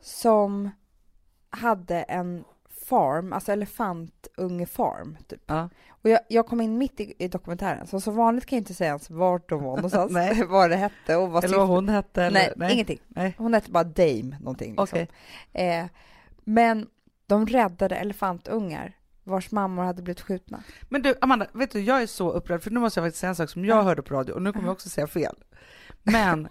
Speaker 2: som hade en farm, alltså elefantungefarm, typ.
Speaker 1: Ja.
Speaker 2: Och jag, jag kom in mitt i, i dokumentären, så som vanligt kan jag inte säga ens vart de var någonstans,
Speaker 1: Nej.
Speaker 2: vad det hette och vad
Speaker 1: Eller vad hon hette? Eller?
Speaker 2: nej, ingenting.
Speaker 1: Nej.
Speaker 2: Hon hette bara Dame någonting. Liksom.
Speaker 1: Okej.
Speaker 2: Eh, men de räddade elefantungar vars mammor hade blivit skjutna.
Speaker 1: Men du, Amanda, vet du, jag är så upprörd för nu måste jag faktiskt säga en sak som jag hörde på radio och nu kommer jag också säga fel. Men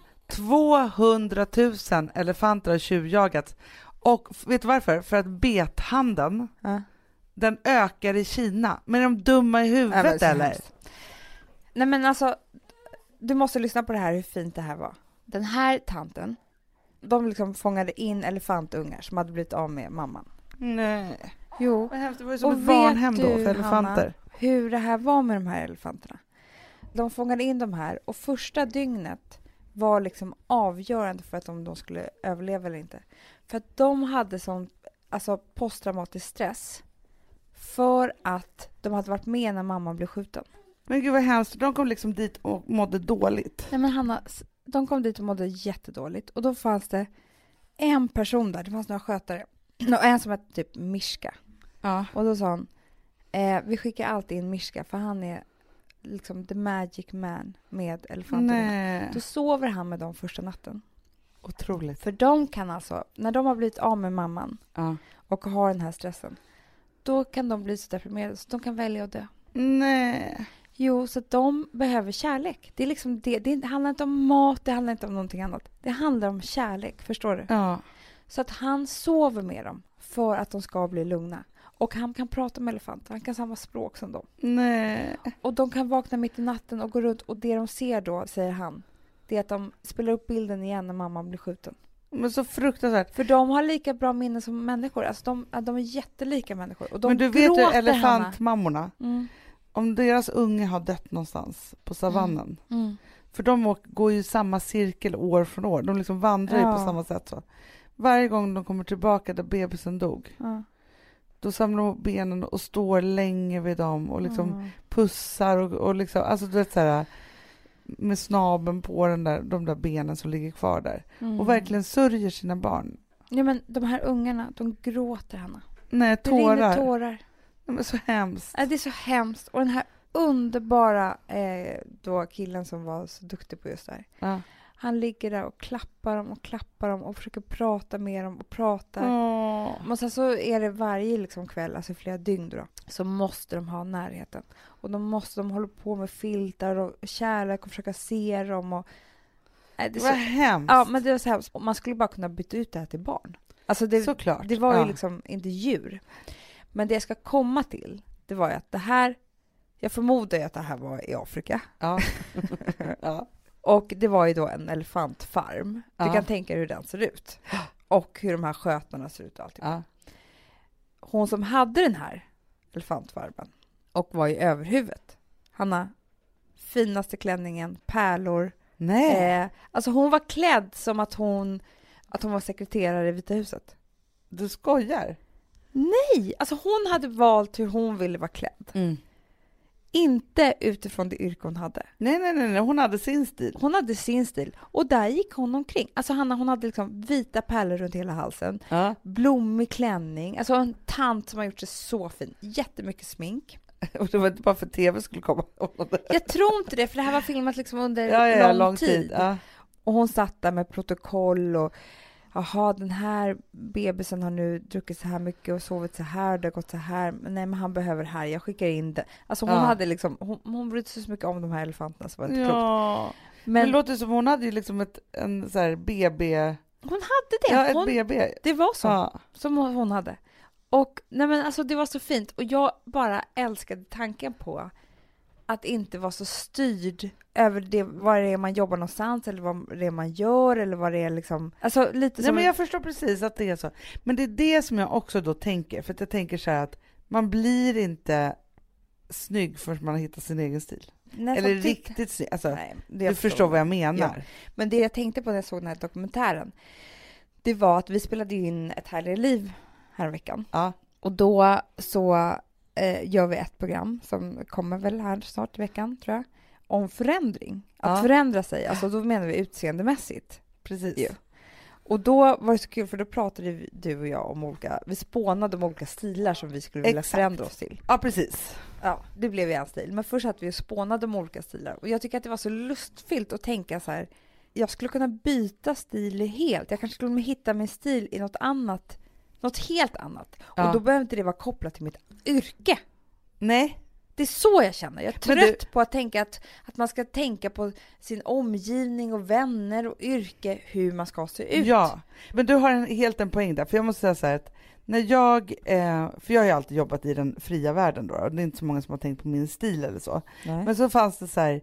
Speaker 1: 200 000 elefanter har tjuvjagats och f- vet du varför? För att bethandeln,
Speaker 2: Ja.
Speaker 1: den ökar i Kina. Men är de dumma i
Speaker 2: Ja, men
Speaker 1: huvudet
Speaker 2: så
Speaker 1: eller?
Speaker 2: hemskt. Nej men alltså, du måste lyssna på det här hur fint det här var. Den här tanten, de liksom fångade in elefantungar som hade blivit av med mamman.
Speaker 1: Nej.
Speaker 2: Jo,
Speaker 1: Vad hemskt, det var ju som
Speaker 2: Och
Speaker 1: ett barnhem
Speaker 2: vet
Speaker 1: då
Speaker 2: du,
Speaker 1: för elefanter.
Speaker 2: hur det här var med de här elefanterna. De fångade in de här och första dygnet var liksom avgörande för att om de skulle överleva eller inte. För att de hade sån alltså posttraumatisk stress för att de hade varit med när mamman blev skjuten.
Speaker 1: Men gud vad hemskt, de kom liksom dit och mådde dåligt.
Speaker 2: Nej men Hanna, s- de kom dit och mådde jättedåligt och då fanns det en person där, det fanns några skötare och en som hette typ Mishka
Speaker 1: Ja.
Speaker 2: och då sa hon eh, vi skickar alltid in Mishka för han är liksom the magic man med elefanterna.
Speaker 1: Nej.
Speaker 2: Då sover han med dem första natten.
Speaker 1: Otroligt.
Speaker 2: För de kan alltså, när de har blivit av med mamman
Speaker 1: Ja.
Speaker 2: och har den här stressen, då kan de bli så deprimerade så de kan välja att dö.
Speaker 1: Nej.
Speaker 2: Jo, så att de behöver kärlek. Det, är liksom det, det är- det handlar inte om mat, det handlar inte om någonting annat. Det handlar om kärlek, förstår du?
Speaker 1: Ja.
Speaker 2: Så att han sover med dem för att de ska bli lugna. Och han kan prata med elefanter, han kan samma språk som dem.
Speaker 1: Nej.
Speaker 2: Och de kan vakna mitt i natten och gå runt och det de ser då, säger han, det är att de spelar upp bilden igen när mamman blir skjuten.
Speaker 1: Men så fruktansvärt.
Speaker 2: För de har lika bra minnen som människor, alltså de, ja, de är jättelika människor. Och de
Speaker 1: Men du vet ju
Speaker 2: gråter,
Speaker 1: elefantmammorna,
Speaker 2: Hanna. Mm,
Speaker 1: om deras unge har dött någonstans på savannen,
Speaker 2: mm.
Speaker 1: för de åk- går ju i samma cirkel år från år, de liksom vandrar ju
Speaker 2: Ja.
Speaker 1: på samma sätt. Så. Varje gång de kommer tillbaka där bebisen dog,
Speaker 2: Ja.
Speaker 1: då samlar de ihop benen och står länge vid dem och liksom
Speaker 2: Mm.
Speaker 1: pussar och, och liksom, alltså du vet så här med snaben på den där, de där benen som ligger kvar där
Speaker 2: Mm.
Speaker 1: och verkligen sörjer sina barn.
Speaker 2: Ja, men de här ungarna, de gråter, Hanna.
Speaker 1: Nej,
Speaker 2: Det
Speaker 1: tårar.
Speaker 2: rinner tårar.
Speaker 1: Nej, men så hemskt.
Speaker 2: Äh, Det är så hemskt. Och den här underbara eh, då killen som var så duktig på just det här.
Speaker 1: Ja.
Speaker 2: Han ligger där och klappar dem och klappar dem och försöker prata med dem och prata.
Speaker 1: Åh.
Speaker 2: Men sen så är det varje liksom kväll, alltså flera dygn då, så måste de ha närheten. Och de måste, de håller på med filtar och kärlek och försöka se dem och... Äh, det är
Speaker 1: Vad
Speaker 2: så,
Speaker 1: hemskt.
Speaker 2: ja, men det är så hemskt. Och Man skulle bara kunna byta ut det här till barn. Alltså det,
Speaker 1: Såklart.
Speaker 2: det var ju
Speaker 1: Ja.
Speaker 2: liksom inte djur. Men det jag ska komma till, det var ju att det här, jag förmodar ju att det här var i Afrika.
Speaker 1: Ja. ja.
Speaker 2: Och det var ju då en elefantfarm. Du
Speaker 1: Ja.
Speaker 2: kan tänka dig hur den ser ut. Och hur de här skötarna ser ut och allting.
Speaker 1: ja.
Speaker 2: Hon som hade den här elefantfarmen och var i överhuvudet. Hanna, finaste klänningen, pärlor.
Speaker 1: Nej.
Speaker 2: Eh, alltså hon var klädd som att hon, att hon var sekreterare i Vita huset.
Speaker 1: Du skojar?
Speaker 2: Nej, alltså hon hade valt hur hon ville vara klädd. Inte utifrån det yrke hon hade.
Speaker 1: Nej, nej, nej, nej, hon hade sin stil.
Speaker 2: Hon hade sin stil och där gick hon omkring. Alltså Hanna, hon hade liksom vita pärlor runt hela halsen,
Speaker 1: Ja.
Speaker 2: blommig klänning, alltså en tant som har gjort sig så fin, jättemycket smink.
Speaker 1: Och det var inte bara för att tv skulle komma ihåg det.
Speaker 2: Jag tror inte det, för det här var filmat liksom under
Speaker 1: Ja, ja,
Speaker 2: lång, tid.
Speaker 1: Ja.
Speaker 2: Och hon satt där med protokoll och jaha, den här bebisen har nu druckit så här mycket och sovit så här, det har gått så här, men nej men han behöver det här, jag skickar in det. Alltså hon
Speaker 1: Ja.
Speaker 2: hade liksom, hon, hon brydde sig så mycket om de här elefanterna så var det inte klokt.
Speaker 1: Ja. Men,
Speaker 2: Men
Speaker 1: det låter som hon hade ju liksom ett en så här BB...
Speaker 2: hon hade det!
Speaker 1: ja, ett
Speaker 2: hon,
Speaker 1: BB.
Speaker 2: det var så.
Speaker 1: Ja.
Speaker 2: som hon hon hade. Och nej men alltså det var så fint och jag bara älskade tanken på att inte vara så styrd över det, vad det är man jobbar någonstans eller vad det är man gör eller vad det är liksom. Alltså lite
Speaker 1: Nej,
Speaker 2: som...
Speaker 1: men jag förstår precis att det är så. Men det är det som jag också då tänker, för att jag tänker så här att man blir inte snygg förrän man har hittat sin egen stil.
Speaker 2: Nej,
Speaker 1: Eller
Speaker 2: som titt-
Speaker 1: riktigt snygg. Alltså,
Speaker 2: typ. Nej, det
Speaker 1: du
Speaker 2: jag
Speaker 1: förstår vad jag menar.
Speaker 2: Men det jag tänkte på när jag såg den här dokumentären, det var att vi spelade in Ett härligare liv häromveckan.
Speaker 1: Ja.
Speaker 2: Och då så eh, gör vi ett program som kommer väl här snart i veckan, tror jag, om förändring. Att
Speaker 1: Ja.
Speaker 2: förändra sig, alltså då menar vi utseendemässigt.
Speaker 1: Precis.
Speaker 2: Ja. Och då var det så kul för då pratade vi- du och jag om olika, vi spånade om olika stilar som vi skulle vilja
Speaker 1: Exakt.
Speaker 2: förändra oss till.
Speaker 1: Ja, precis.
Speaker 2: Ja, det blev ju en stil. Men först att vi och spånade om olika stilar. Och jag tycker att det var så lustfyllt att tänka så här. Jag skulle kunna byta stil helt. Jag kanske skulle hitta min stil i något annat. Något helt annat.
Speaker 1: Ja.
Speaker 2: Och då behöver inte det vara kopplat till mitt yrke.
Speaker 1: Nej,
Speaker 2: Det är så jag känner. Jag är
Speaker 1: Men
Speaker 2: trött på att tänka att, att man ska tänka på sin omgivning och vänner och yrke, hur man ska se ut.
Speaker 1: Ja, men du har en, helt en poäng där, för jag måste säga så här att när jag, eh, för jag har ju alltid jobbat i den fria världen då, och det är inte så många som har tänkt på min stil eller så,
Speaker 2: Nej.
Speaker 1: men så fanns det så här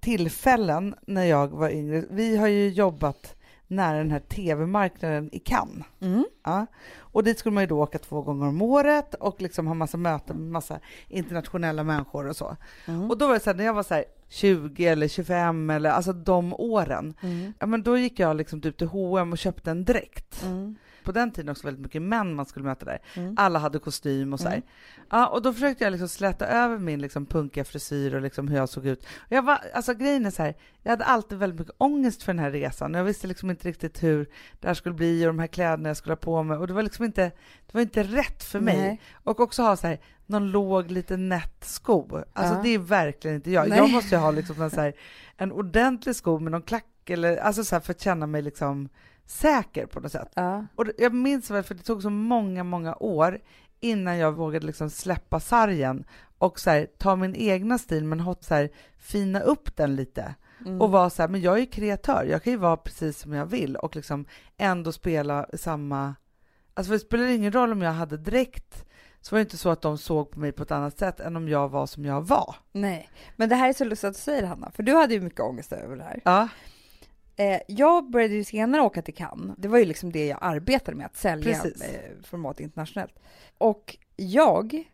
Speaker 1: tillfällen när jag var yngre, vi har ju jobbat nära den här tv-marknaden i Cannes.
Speaker 2: Mm.
Speaker 1: Ja. Och dit skulle man ju då åka två gånger om året och liksom ha massa möten med massa internationella människor och så.
Speaker 2: Mm.
Speaker 1: Och då var det så här, när jag var så här 20 eller 25 eller alltså de åren,
Speaker 2: Mm.
Speaker 1: ja men då gick jag liksom typ till H&M och köpte en dräkt.
Speaker 2: Mm.
Speaker 1: På den tiden också väldigt mycket män man skulle möta där.
Speaker 2: Mm.
Speaker 1: Alla hade kostym och så här. Ja, och då försökte jag liksom släta över min liksom punkiga frisyr och liksom hur jag såg ut. Och jag var, alltså grejen är så här, jag hade alltid väldigt mycket ångest för den här resan. Jag visste liksom inte riktigt hur det här skulle bli och de här kläderna jag skulle ha på mig. Och det var liksom inte, det var inte rätt för mig.
Speaker 2: Nej.
Speaker 1: Och också ha så här, någon låg, lite nätt sko. Alltså
Speaker 2: Ja.
Speaker 1: det är verkligen inte jag.
Speaker 2: Nej.
Speaker 1: Jag måste ju ha liksom en, så här, en ordentlig sko med någon klack eller, alltså så här, för att känna mig liksom säker på något sätt.
Speaker 2: Ja.
Speaker 1: Och det- jag minns väl, för det tog så många, många år innan jag vågade liksom släppa sargen och så här, ta min egna stil men ha- så här, fina upp den lite.
Speaker 2: Mm.
Speaker 1: Och vara så här, men jag är ju kreatör, jag kan ju vara precis som jag vill och liksom ändå spela samma... Alltså för det spelar ingen roll om jag hade dräkt, så var det inte så att de såg på mig på ett annat sätt än om jag var som jag var.
Speaker 2: Nej, men det här är så lustigt att du säger Hanna, för du hade ju mycket ångest över det här.
Speaker 1: Ja,
Speaker 2: Eh, jag började ju senare åka till Cannes. Det var ju liksom det jag arbetade med, att sälja
Speaker 1: Precis.
Speaker 2: eh, format internationellt. Och jag,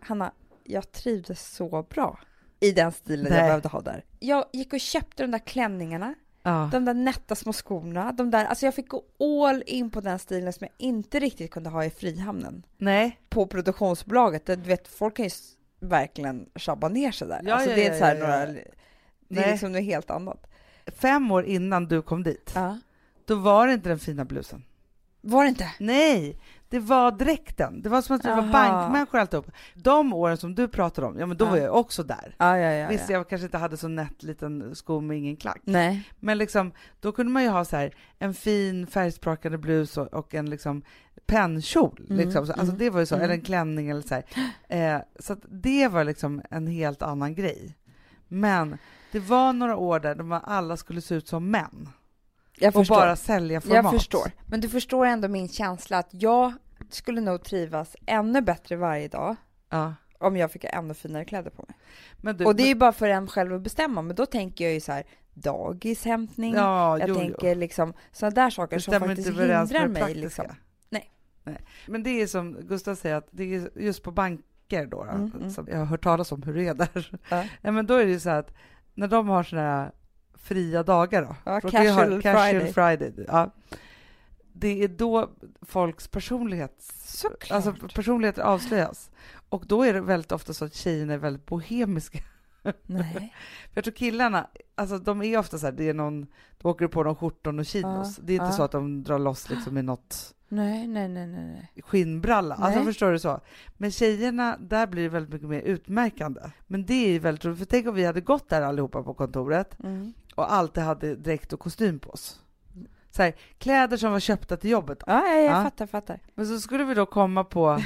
Speaker 2: Hanna, jag trivdes så bra i den stilen
Speaker 1: Nej.
Speaker 2: jag behövde ha där. Jag gick och köpte de där klänningarna,
Speaker 1: ja.
Speaker 2: de där nätta små skorna, de där, alltså jag fick gå all in på den stilen som jag inte riktigt kunde ha i Frihamnen.
Speaker 1: Nej.
Speaker 2: På produktionsbolaget, där, du vet, folk kan ju s- verkligen tjabba ner sig där.
Speaker 1: Ja,
Speaker 2: alltså
Speaker 1: ja,
Speaker 2: det är
Speaker 1: ja,
Speaker 2: så här
Speaker 1: ja,
Speaker 2: några,
Speaker 1: ja.
Speaker 2: det är
Speaker 1: Nej.
Speaker 2: liksom något helt annat.
Speaker 1: Fem år innan du kom dit,
Speaker 2: Ja.
Speaker 1: då var det inte den fina blusen.
Speaker 2: Var det inte?
Speaker 1: Nej, det var dräkten. Det var som att vi var
Speaker 2: Aha.
Speaker 1: bankmänniskor alltihop. De åren som du pratade om, ja men då
Speaker 2: Ja.
Speaker 1: var jag också där.
Speaker 2: Ja, ja, ja.
Speaker 1: Visst, jag kanske inte hade så nätt liten sko med ingen klack.
Speaker 2: Nej.
Speaker 1: Men liksom, då kunde man ju ha så här, en fin färgsprakande blus och, och en liksom pennkjol.
Speaker 2: Mm,
Speaker 1: Liksom. Så, alltså
Speaker 2: mm,
Speaker 1: det var ju så,
Speaker 2: mm.
Speaker 1: eller en klänning eller så här. Eh, så att det var liksom en helt annan grej. Men det var några år där de alla skulle se ut som män
Speaker 2: Jag
Speaker 1: och
Speaker 2: förstår.
Speaker 1: bara sälja format.
Speaker 2: jag förstår. Men du förstår ändå min känsla att jag skulle nog trivas ännu bättre varje dag
Speaker 1: Ja.
Speaker 2: om jag fick ännu finare kläder på mig.
Speaker 1: Men du,
Speaker 2: Och det är ju bara för en själv att bestämma, men då tänker jag ju så här dagishämtning,
Speaker 1: ja,
Speaker 2: jag
Speaker 1: jo, jo.
Speaker 2: tänker liksom sådana där saker som
Speaker 1: stämmer
Speaker 2: faktiskt
Speaker 1: inte överens med det
Speaker 2: hindrar mig.
Speaker 1: praktiska.
Speaker 2: Liksom. Nej.
Speaker 1: Nej. Men det är som Gustav säger, att det är just på banker då, då
Speaker 2: Mm, mm.
Speaker 1: som jag har hört talas om hur det är där.
Speaker 2: Ja.
Speaker 1: Nej, men då är det ju så här att när de har sådana här fria dagar då,
Speaker 2: Ja,
Speaker 1: för vi har
Speaker 2: casual
Speaker 1: casual Friday ja, det är då folks personlighet,
Speaker 2: Såklart.
Speaker 1: alltså personligheter avslöjas. Och då är det väldigt ofta så att tjejerna är väldigt bohemiska.
Speaker 2: Nej.
Speaker 1: För jag tror killarna, alltså de är ofta så här, det är någon, då åker du på någon skjorton och chinos.
Speaker 2: Ja,
Speaker 1: det är inte
Speaker 2: ja.
Speaker 1: så att de drar loss liksom i något
Speaker 2: Nej, nej, nej, nej. nej.
Speaker 1: skinnbralla. Alltså
Speaker 2: Nej.
Speaker 1: förstår du så? Men tjejerna, där blir det väldigt mycket mer utmärkande. Men det är ju väldigt roligt, för tänk om vi hade gått där allihopa på kontoret
Speaker 2: Mm.
Speaker 1: och alltid hade dräkt och kostym på oss. Så här, kläder som var köpta till jobbet.
Speaker 2: Ja, ja, jag
Speaker 1: Ja.
Speaker 2: fattar, fattar.
Speaker 1: Men så skulle vi då komma på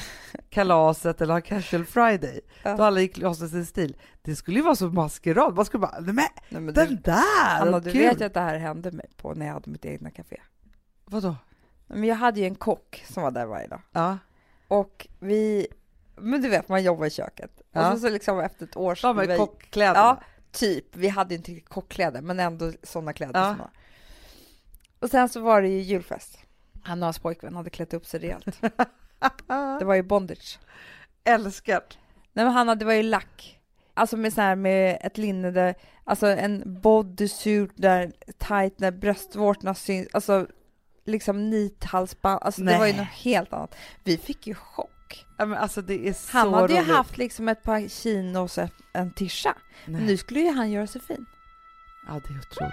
Speaker 1: kalaset eller ha casual friday,
Speaker 2: Ja.
Speaker 1: då alla gick loss i sin stil. Det skulle ju vara så maskerad, man skulle bara, nej men
Speaker 2: Nej, men du,
Speaker 1: den där,
Speaker 2: Anna,
Speaker 1: vad
Speaker 2: du
Speaker 1: kul!
Speaker 2: vet ju att det här hände mig på när jag hade mitt egna café.
Speaker 1: Vadå?
Speaker 2: Men jag hade ju en kock som var där varje dag.
Speaker 1: Ja.
Speaker 2: Och vi, men du vet man jobbar i köket.
Speaker 1: Ja.
Speaker 2: Och så, så liksom efter ett år så
Speaker 1: De
Speaker 2: blev
Speaker 1: här
Speaker 2: jag-
Speaker 1: kockkläderna.
Speaker 2: Ja, typ. Vi hade ju inte riktigt kockkläder, men ändå sådana kläder.
Speaker 1: Ja.
Speaker 2: Som var. Och sen så var det ju julfest. Han och hans pojkvän hade klätt upp sig rejält.
Speaker 1: Ah,
Speaker 2: Det var ju bondage.
Speaker 1: älskar.
Speaker 2: Nej men han hade, det var ju lack. Alltså med så här med ett linne där, alltså en bodysuit där tight där bröstvårtorna syns, alltså liksom nithalsband, alltså det
Speaker 1: Nej.
Speaker 2: var ju något helt annat. Vi fick ju chock.
Speaker 1: Ja, men alltså det är så
Speaker 2: Han hade ju
Speaker 1: roligt.
Speaker 2: haft liksom ett par chinos och ett- en tisha.
Speaker 1: Nej.
Speaker 2: Nu skulle ju han göra sig fin.
Speaker 1: Ja, det är otroligt.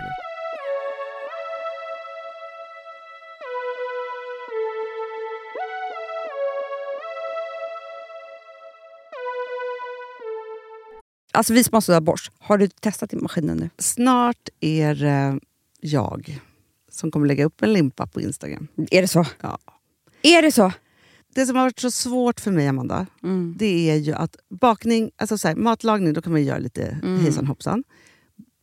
Speaker 3: Alltså vi som har sådär borst, har du testat i maskinen nu?
Speaker 4: Snart är eh, jag som kommer lägga upp en limpa på Instagram.
Speaker 3: Är det så?
Speaker 4: Ja.
Speaker 3: Är det så? Mm.
Speaker 4: Det som har varit så svårt för mig, Amanda, det är ju att bakning... Alltså så här, matlagning, då kan man ju göra lite hejsan hoppsan.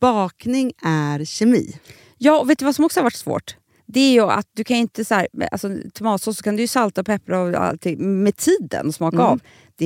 Speaker 4: Bakning är kemi.
Speaker 3: Ja, och vet du vad som också har varit svårt? Det är ju att du kan ju inte så här, alltså, tomatsås så kan du ju salta och peppra och allt med tiden och
Speaker 4: Mm.
Speaker 3: smaka av. Det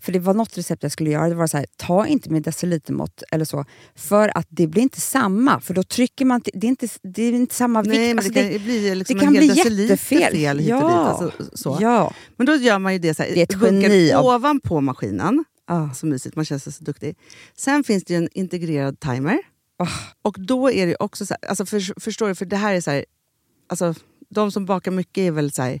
Speaker 3: För det var något recept jag skulle göra. Det var så här, ta inte med decilitermått eller så. För att det blir inte samma. För då trycker man... till- Det är inte, det är inte samma vikt.
Speaker 4: Nej, men
Speaker 3: Alltså,
Speaker 4: det kan ju bli liksom
Speaker 3: det kan
Speaker 4: en hel
Speaker 3: bli
Speaker 4: deciliter
Speaker 3: jättefel.
Speaker 4: fel hit och
Speaker 3: Ja.
Speaker 4: dit. Alltså, så.
Speaker 3: Ja.
Speaker 4: Men då gör man ju det så här,
Speaker 3: Det är ett
Speaker 4: i bunkern
Speaker 3: geni av-
Speaker 4: ovanpå maskinen.
Speaker 3: Ah.
Speaker 4: Så mysigt, man känns så duktig. Sen finns det ju en integrerad timer.
Speaker 3: Ah.
Speaker 4: Och då är det ju också så här, alltså för, förstår du, för det här är så här, alltså de som bakar mycket är väl så här,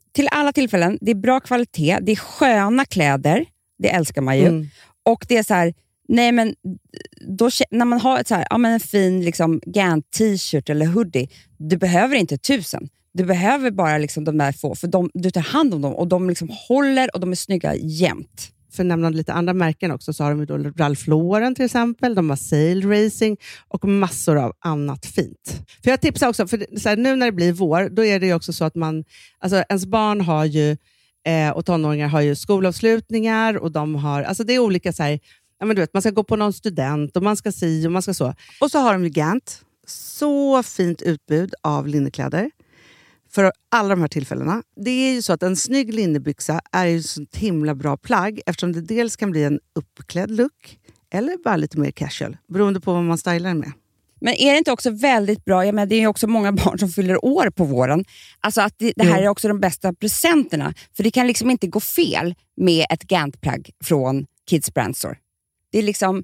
Speaker 3: Till alla tillfällen, det är bra kvalitet, det är sköna kläder, det älskar man ju.
Speaker 4: Mm.
Speaker 3: Och det är så här, nej men, då, kä- när man har ett så här, ja, men en fin liksom, Gant t-shirt eller hoodie, du behöver inte tusen. Du behöver bara liksom de där få, för de, du tar hand om dem och de liksom håller och de är snygga jämt.
Speaker 4: för att nämna lite andra märken också, så har de ju då Ralph Lauren till exempel, de har Sail Racing och massor av annat fint. För Jag tipsar också, för det- så här, nu när det blir vår, då är det ju också så att man, alltså ens barn har ju, eh, och tonåringar har ju skolavslutningar och de har, alltså det är olika så här, ja, men du vet, man ska gå på någon student och man ska si och man ska så. Och så har de ju Gant, så fint utbud av linnekläder för alla de här tillfällena. Det är ju så att en snygg linnebyxa är ju ett sånt himla bra plagg eftersom det dels kan bli en uppklädd look eller bara lite mer casual, beroende på vad man stylar den med.
Speaker 3: Men är det inte också väldigt bra, jag menar, det är ju också många barn som fyller år på våren, alltså att det, det här är också de bästa presenterna. För det kan liksom inte gå fel med ett Gant-plagg från Kids Brand Store. Det är liksom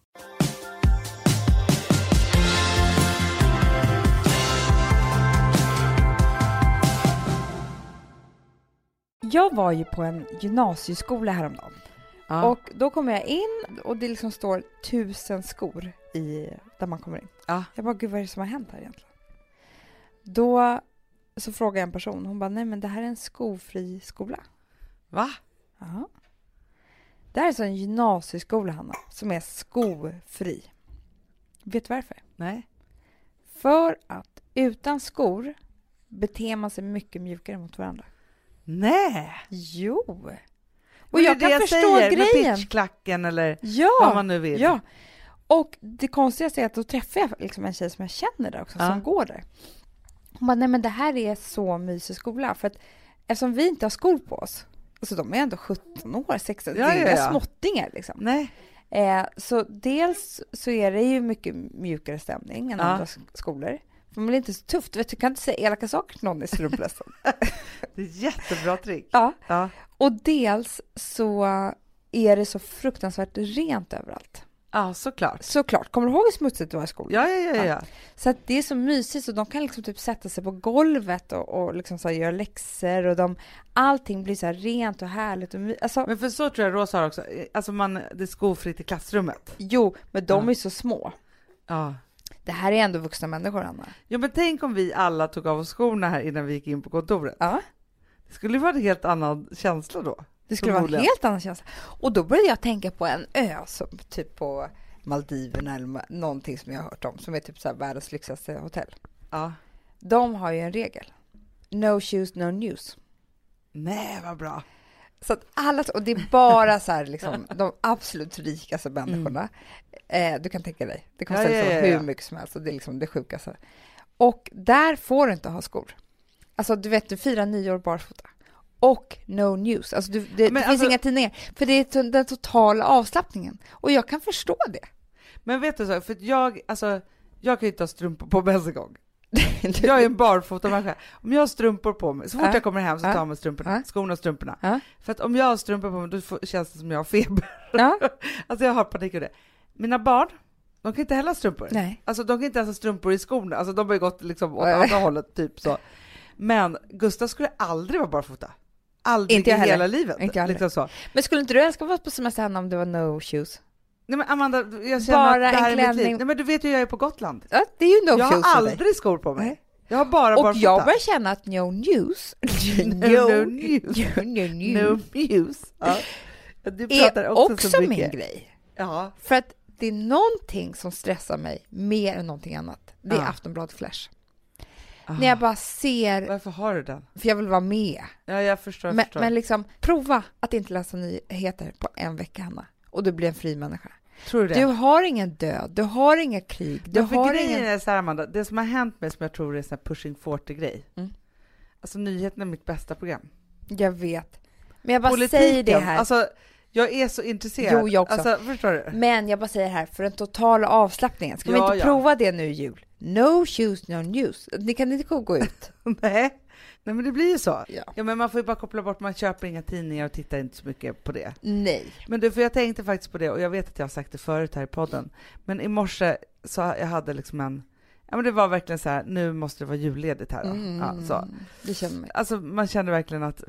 Speaker 2: Jag var ju på en gymnasieskola häromdagen.
Speaker 1: Ja.
Speaker 2: Och då kommer jag in och det liksom står tusen skor i, där man kommer in.
Speaker 1: Ja.
Speaker 2: Jag bara, gud vad är det som har hänt här egentligen? Då så frågar jag en person, hon bara, nej men det här är en skofri skola.
Speaker 1: Va?
Speaker 2: Ja. Det här är så en gymnasieskola, Hanna, som är skofri. Vet du varför?
Speaker 1: Nej.
Speaker 2: För att utan skor beter man sig mycket mjukare mot varandra.
Speaker 1: Nej!
Speaker 2: Jo! Och
Speaker 1: Men det är
Speaker 2: jag
Speaker 1: det
Speaker 2: kan förstå
Speaker 1: säger,
Speaker 2: grejen.
Speaker 1: Med pitchklacken eller vad
Speaker 2: Ja,
Speaker 1: man nu vill.
Speaker 2: ja! Och det konstigaste är att då träffar jag liksom en tjej som jag känner där också,
Speaker 1: Ja.
Speaker 2: som går där. Hon bara, nej men det här är så mysig skola. För att eftersom vi inte har skor på oss, alltså de är ändå 17 år, 16,
Speaker 1: Ja,
Speaker 2: det är
Speaker 1: ja,
Speaker 2: inga
Speaker 1: ja.
Speaker 2: småttingar liksom.
Speaker 1: Nej.
Speaker 2: Eh, så dels så är det ju mycket mjukare stämning än
Speaker 1: Ja.
Speaker 2: andra sk- skolor. För man blir inte så tufft. Vet, du kan inte säga elaka saker till någon i strumplästen.
Speaker 1: Det är ett jättebra trick.
Speaker 2: ja.
Speaker 1: Ja.
Speaker 2: Och dels så är det så fruktansvärt rent överallt.
Speaker 1: ja, såklart.
Speaker 2: Såklart. Kommer du ihåg hur smutsigt det var i skolan?
Speaker 1: Ja, ja, ja. ja.
Speaker 2: Så att det är så mysigt. Så de kan liksom typ sätta sig på golvet och, och liksom så här göra läxor. Och de, allting blir så här rent och härligt. Och my- alltså,
Speaker 1: Men för så tror jag Rosa har också. Alltså man, det är skofritt i klassrummet.
Speaker 2: jo, men de
Speaker 1: Ja.
Speaker 2: är så små.
Speaker 1: Ja.
Speaker 2: Det här är ändå vuxna människor, Anna.
Speaker 1: ja, men tänk om vi alla tog av oss skorna här innan vi gick in på kontoret.
Speaker 2: Ja.
Speaker 1: Det skulle ju vara en helt annan känsla då.
Speaker 2: Det skulle vara en
Speaker 1: Förmodligen.
Speaker 2: helt annan känsla. Och då började jag tänka på en ö som typ på Maldiverna eller ma- någonting som jag har hört om som är typ så här världens lyxigaste hotell.
Speaker 1: Ja.
Speaker 2: De har ju en regel. No shoes, no news.
Speaker 1: Nej, vad bra.
Speaker 2: Så att alla, och det är bara så här liksom, de absolut rikaste människorna. Eh, du kan tänka dig, det kostar
Speaker 1: Ja, ja,
Speaker 2: liksom
Speaker 1: ja, ja.
Speaker 2: hur mycket som helst och det är liksom det sjukaste. Och där får du inte ha skor. Alltså du vet, du firar nyår barfota. Och no news, alltså du, det,
Speaker 1: Men
Speaker 2: det finns
Speaker 1: alltså-
Speaker 2: inga tidningar. För det är to- den totala avslappningen. Och jag kan förstå det.
Speaker 1: Men vet du så, för att jag, alltså, jag kan ju inte ha strumpor på mig ens en gång.
Speaker 2: Du-
Speaker 1: Jag är en barfotamänniska. Om jag har strumpor på mig, så fort
Speaker 2: Ja.
Speaker 1: jag kommer hem så tar
Speaker 2: Ja.
Speaker 1: jag med strumporna,
Speaker 2: Ja.
Speaker 1: skorna och strumporna.
Speaker 2: Ja.
Speaker 1: För att om jag har strumpor på mig då får, känns det som jag har feber.
Speaker 2: Ja.
Speaker 1: Alltså jag har panik över det. Mina barn, de kan inte heller ha strumpor.
Speaker 2: Nej.
Speaker 1: Alltså de kan inte ens ha strumpor i skorna. Alltså de har ju gått liksom åt
Speaker 2: Nej.
Speaker 1: andra hållet, typ så. Men Gustav skulle aldrig vara barfota. Aldrig
Speaker 2: Inte
Speaker 1: i
Speaker 2: jag heller.
Speaker 1: hela livet.
Speaker 2: Inte jag heller.
Speaker 1: liksom så.
Speaker 2: Men skulle inte du älska att vara på semester Hanna, om det var no shoes?
Speaker 1: Nej men Amanda, jag känner
Speaker 2: Bara
Speaker 1: att det här
Speaker 2: en
Speaker 1: är mitt liv.
Speaker 2: klänning.
Speaker 1: Nej men du vet ju hur jag är på Gotland.
Speaker 2: Ja, det är ju no
Speaker 1: jag
Speaker 2: shoes
Speaker 1: har
Speaker 2: för dig.
Speaker 1: aldrig skor på mig.
Speaker 2: Nej.
Speaker 1: Jag har bara
Speaker 2: Och
Speaker 1: barfota.
Speaker 2: jag börjar känna att no news,
Speaker 1: No news.
Speaker 2: no, no news.
Speaker 1: No muse. Ja. Du pratar
Speaker 2: är
Speaker 1: också,
Speaker 2: också,
Speaker 1: så mycket.
Speaker 2: min grej.
Speaker 1: Ja.
Speaker 2: För att det är någonting som stressar mig mer än någonting annat. Det är
Speaker 1: Ja.
Speaker 2: Aftonbladet Flash.
Speaker 1: Ah.
Speaker 2: När jag bara ser,
Speaker 1: Varför har du den?
Speaker 2: för jag vill vara med.
Speaker 1: Ja, jag förstår. Jag
Speaker 2: Men,
Speaker 1: förstår.
Speaker 2: men liksom, prova att inte läsa nyheter på en vecka, Hanna. Och du blir en fri människa.
Speaker 1: Tror du det?
Speaker 2: Du har ingen död, du har inga krig, du
Speaker 1: Men för
Speaker 2: har
Speaker 1: grejen
Speaker 2: ingen...
Speaker 1: är så här, Amanda, det som har hänt mig som jag tror är en sån här pushing 40-grej.
Speaker 2: Mm.
Speaker 1: Alltså nyheterna är mitt bästa program.
Speaker 2: Jag vet. Men jag bara säger det här.
Speaker 1: Alltså, jag är så intresserad.
Speaker 2: Jo, jag också. Mm.
Speaker 1: Alltså, förstår du?
Speaker 2: Men jag bara säger här, för den totala avslappningen. Ska vi
Speaker 1: Ja,
Speaker 2: inte
Speaker 1: ja.
Speaker 2: prova det nu i jul? No shoes, no news. Ni kan inte gå ut.
Speaker 1: Nej. Nej, men det blir ju så.
Speaker 2: Ja.
Speaker 1: Ja, men man får ju bara koppla bort, man köper inga tidningar och tittar inte så mycket på det.
Speaker 2: Nej.
Speaker 1: Men du, för jag tänkte faktiskt på det och jag vet att jag har sagt det förut här i podden. Men i morse så jag hade liksom en, ja men det var verkligen så här, nu måste det vara julledigt här då.
Speaker 2: Mm.
Speaker 1: Ja, så.
Speaker 2: Det känner mig.
Speaker 1: Alltså man kände verkligen att,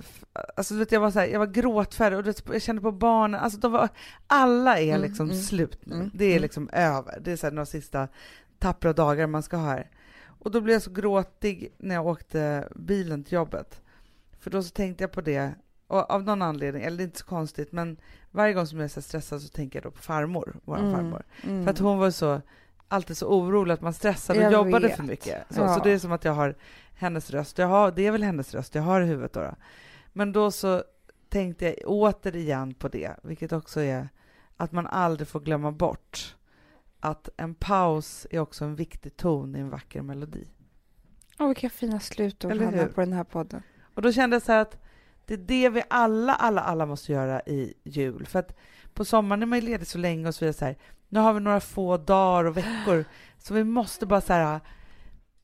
Speaker 1: alltså du vet jag var så här, jag var gråtfärdig och du vet, jag kände på barnen, alltså de var, alla är
Speaker 2: Mm,
Speaker 1: liksom
Speaker 2: mm,
Speaker 1: slut nu.
Speaker 2: mm,
Speaker 1: det är
Speaker 2: mm.
Speaker 1: liksom över. Det är så här några sista tappra dagar man ska ha här. Och då blev jag så gråtig när jag åkte bilen till jobbet. För då så tänkte jag på det, och av någon anledning, eller det är inte så konstigt, men varje gång som jag är så här stressad så tänker jag då på farmor, våran
Speaker 2: Mm,
Speaker 1: farmor.
Speaker 2: Mm.
Speaker 1: För att hon var så, alltid så orolig att man stressade och
Speaker 2: Jag
Speaker 1: jobbade
Speaker 2: vet.
Speaker 1: för mycket. Så,
Speaker 2: Ja.
Speaker 1: så det är som att jag har hennes röst. Jag har, det är väl hennes röst jag har i huvudet då. då. Men då så tänkte jag återigen på det, vilket också är att man aldrig får glömma bort att en paus är också en viktig ton i en vacker melodi.
Speaker 2: Åh, vilka fina slutord
Speaker 1: Eller
Speaker 2: Hanna
Speaker 1: hur?
Speaker 2: på den här podden.
Speaker 1: Och då kände jag så här att det är det vi alla, alla, alla måste göra i jul. För att på sommaren är man ju ledig så länge och så vidare så här. Nu har vi några få dagar och veckor så vi måste bara så här.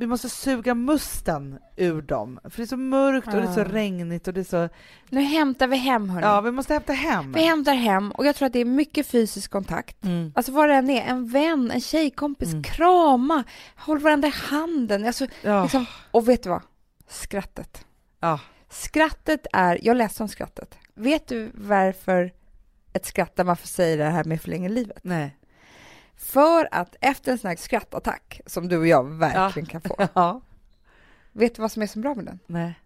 Speaker 1: Vi måste suga musten ur dem. För det är så mörkt och det är så
Speaker 2: Ja.
Speaker 1: regnigt och det är så...
Speaker 2: Nu hämtar vi hem hörni.
Speaker 1: Ja, vi måste hämta hem.
Speaker 2: Vi hämtar hem och jag tror att det är mycket fysisk kontakt.
Speaker 1: Mm.
Speaker 2: Alltså vad det än är, en vän, en tjejkompis,
Speaker 1: Mm.
Speaker 2: krama, håll varandra i handen. Alltså,
Speaker 1: Ja,
Speaker 2: liksom, och vet du vad? Skrattet.
Speaker 1: ja.
Speaker 2: Skrattet är, jag läste om skrattet. Vet du varför ett skratt där man får säga det här med förlänger livet?
Speaker 1: Nej.
Speaker 2: För att efter en sån här skrattattack, som du och jag verkligen kan få,
Speaker 1: Ja.
Speaker 2: vet du vad som är så bra med den?
Speaker 1: Nej.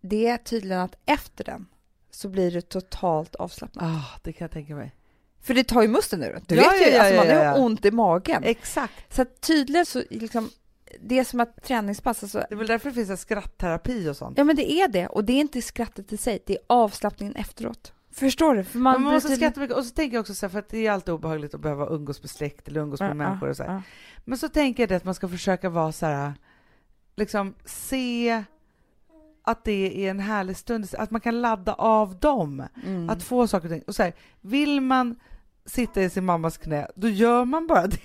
Speaker 2: Det är tydligen att efter den så blir du totalt avslappnad.
Speaker 1: Ah, det kan jag tänka mig.
Speaker 2: För det tar ju musten ur en. Du
Speaker 1: Ja,
Speaker 2: vet ju,
Speaker 1: ja, ja,
Speaker 2: alltså, man
Speaker 1: ja,
Speaker 2: har
Speaker 1: ja.
Speaker 2: ont i magen.
Speaker 1: Exakt.
Speaker 2: Så att tydligen så liksom, det är som att träningspass, alltså,
Speaker 1: Det är väl därför det finns en skrattterapi och sånt.
Speaker 2: ja men det är det. Och det är inte skrattet i sig, det är avslappningen efteråt. Förstår du? För man,
Speaker 1: Man, man
Speaker 2: blir
Speaker 1: måste
Speaker 2: tydligen-
Speaker 1: skratta mycket. Och så tänker jag också så här, för att det är alltid obehagligt att behöva umgås med släkt eller umgås med
Speaker 2: Ja,
Speaker 1: människor och så här.
Speaker 2: ja,
Speaker 1: Men så tänker jag det att man ska försöka vara så här, liksom se att det är en härlig stund, att man kan ladda av dem,
Speaker 2: ja. Mm.
Speaker 1: att få saker och ting. Och så här, vill man sitta i sin mammas knä, då gör man bara det.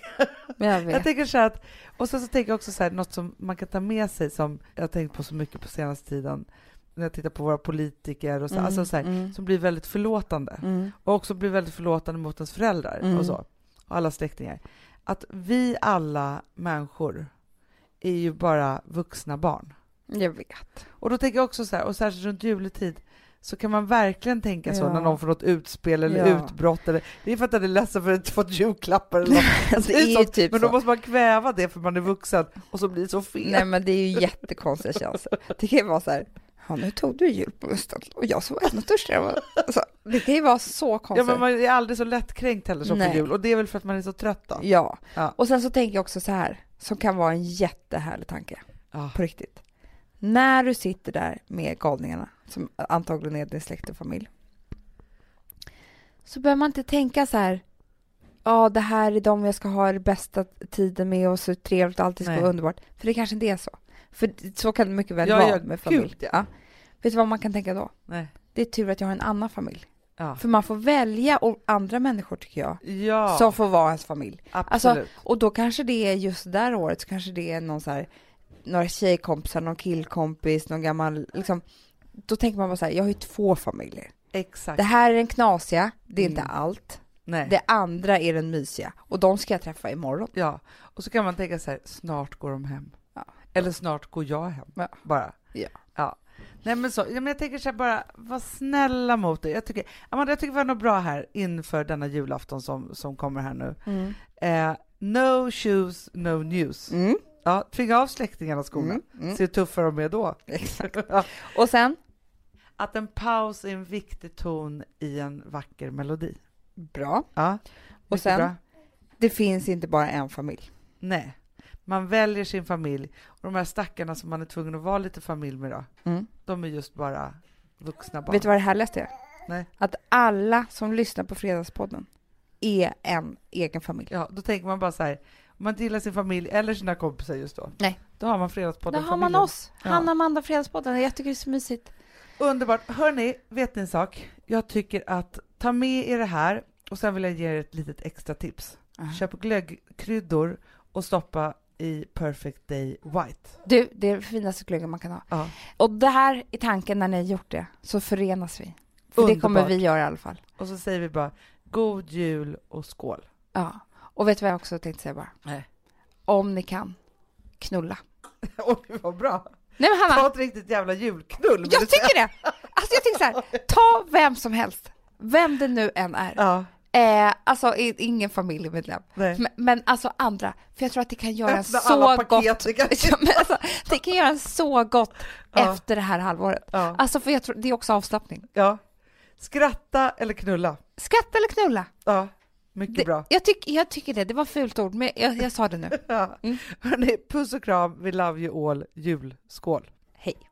Speaker 2: jag vet.
Speaker 1: Jag tänker så här att, och sen så tänker jag också så här, något som man kan ta med sig som jag har tänkt på så mycket på senaste tiden, när jag tittar på våra politiker och så,
Speaker 2: Mm,
Speaker 1: alltså så här,
Speaker 2: mm,
Speaker 1: som blir väldigt förlåtande
Speaker 2: mm.
Speaker 1: och också blir väldigt förlåtande mot ens föräldrar
Speaker 2: Mm.
Speaker 1: och så, och alla släktingar. Att vi alla människor är ju bara vuxna barn.
Speaker 2: Jag vet.
Speaker 1: Och då tänker jag också så här, och särskilt runt juletid, så kan man verkligen tänka så
Speaker 2: Ja.
Speaker 1: när någon får något utspel eller
Speaker 2: Ja.
Speaker 1: utbrott eller, det är för att den är ledsen för att den inte fått julklappar eller något.
Speaker 2: Alltså,
Speaker 1: Det är ju sånt,
Speaker 2: typ
Speaker 1: Men då
Speaker 2: så.
Speaker 1: måste man kväva det för man är vuxen och så blir det så fel.
Speaker 2: Nej men det är ju jättekonstiga känslor. Det kan ju vara så här, ja nu tog du jul på musten och jag som var ännu törstigare. Alltså, det kan ju vara så
Speaker 1: ja
Speaker 2: konstigt.
Speaker 1: men man är aldrig så lättkränkt heller som
Speaker 2: Nej.
Speaker 1: på jul och det är väl för att man är så trött då.
Speaker 2: Ja.
Speaker 1: Ja.
Speaker 2: Och sen så tänker jag också så här, som kan vara en jättehärlig tanke,
Speaker 1: Ja.
Speaker 2: på riktigt. När du sitter där med galningarna, som antagligen är din släkt och familj, så behöver man inte tänka så här, ja det här är de jag ska ha den bästa tiden med och så trevligt och allting ska
Speaker 1: Nej.
Speaker 2: vara underbart. För det kanske inte är så. För så kan det mycket väl
Speaker 1: Ja,
Speaker 2: vara
Speaker 1: ja,
Speaker 2: med familj.
Speaker 1: gud, ja.
Speaker 2: Vet du vad man kan tänka då?
Speaker 1: Nej.
Speaker 2: Det är tur att jag har en annan familj.
Speaker 1: Ja.
Speaker 2: För man får välja och andra människor tycker jag,
Speaker 1: ja,
Speaker 2: som får vara ens familj.
Speaker 1: absolut.
Speaker 2: Och då kanske det är just där året, så kanske det är någon så här, några tjejkompisar, någon killkompis, någon gammal, liksom. Då tänker man bara så här, jag har ju två familjer.
Speaker 1: Exakt.
Speaker 2: Det här är den knasiga, det är
Speaker 1: Mm.
Speaker 2: inte allt.
Speaker 1: Nej.
Speaker 2: Det andra är den mysiga och de ska jag träffa imorgon.
Speaker 1: Ja, och så kan man tänka så här, snart går de hem.
Speaker 2: Ja.
Speaker 1: Eller snart går jag hem,
Speaker 2: Ja.
Speaker 1: bara.
Speaker 2: Ja.
Speaker 1: Ja. Nej men så, ja, men jag tänker så här bara, var snälla mot dig. Jag tycker, Amanda, jag tycker vi har något bra här inför denna julafton som, som kommer här nu.
Speaker 2: Mm.
Speaker 1: Eh, no shoes, no news.
Speaker 2: Mm.
Speaker 1: Ja, tvinga av släktingarna skolan.
Speaker 2: Mm. Mm.
Speaker 1: Se hur tuffa de är då.
Speaker 2: Exakt.
Speaker 1: Ja.
Speaker 2: Och sen,
Speaker 1: Att en paus är en viktig ton i en vacker melodi.
Speaker 2: bra,
Speaker 1: Ja, mycket
Speaker 2: sen?
Speaker 1: bra.
Speaker 2: det finns inte bara en familj.
Speaker 1: Nej. Man väljer sin familj. Och de här stackarna som man är tvungen att vara lite familj med då,
Speaker 2: Mm.
Speaker 1: de är just bara vuxna barn.
Speaker 2: Vet du vad det härligaste är?
Speaker 1: Nej.
Speaker 2: Att alla som lyssnar på Fredagspodden är en egen familj.
Speaker 1: Ja, då tänker man bara så här, om man inte gillar sin familj eller sina kompisar just då,
Speaker 2: Nej.
Speaker 1: då har man Fredagspodden familjen.
Speaker 2: oss.
Speaker 1: Ja.
Speaker 2: Amanda, Fredagspodden. Jag tycker det är så mysigt.
Speaker 1: Underbart. Hörni, vet ni en sak? Jag tycker att ta med er det här och sen vill jag ge er ett litet extra tips. Köp glöggkryddor och stoppa i Perfect Day White.
Speaker 2: Du, det är det finaste glöggen man kan ha.
Speaker 1: Ja.
Speaker 2: Och det här är tanken när ni har gjort det, så förenas vi. För det kommer vi
Speaker 1: Underbart.
Speaker 2: göra i alla fall.
Speaker 1: Och så säger vi bara god jul och skål.
Speaker 2: Ja. Och vet du vad jag också tänkte säga bara?
Speaker 1: Nej.
Speaker 2: Om ni kan, knulla.
Speaker 1: Oj, vad bra!
Speaker 2: Nej men Hanna,
Speaker 1: Ta ett riktigt jävla julknull. vill du
Speaker 2: jag
Speaker 1: säga.
Speaker 2: tycker det! Alltså jag tycker så här, ta vem som helst, vem det nu än är.
Speaker 1: Ja,
Speaker 2: Eh, alltså i- ingen familjemedlem.
Speaker 1: nej.
Speaker 2: Men, men alltså andra, för jag tror att det kan göra en
Speaker 1: Öppna
Speaker 2: så
Speaker 1: alla
Speaker 2: gott.
Speaker 1: paket. du kan-
Speaker 2: Ja, men alltså, det kan göra en så gott
Speaker 1: Ja.
Speaker 2: efter det här halvåret.
Speaker 1: Ja,
Speaker 2: Alltså för jag tror, det är också avslappning.
Speaker 1: ja. Skratta eller knulla.
Speaker 2: Skratta eller knulla?
Speaker 1: Ja, mycket
Speaker 2: Det,
Speaker 1: bra.
Speaker 2: Jag, tyck, jag tycker det, det var fult ord, men jag, jag sa det nu.
Speaker 1: Ja.
Speaker 2: Mm.
Speaker 1: Hörni, puss och kram. We love you all. Julskål.
Speaker 2: Hej.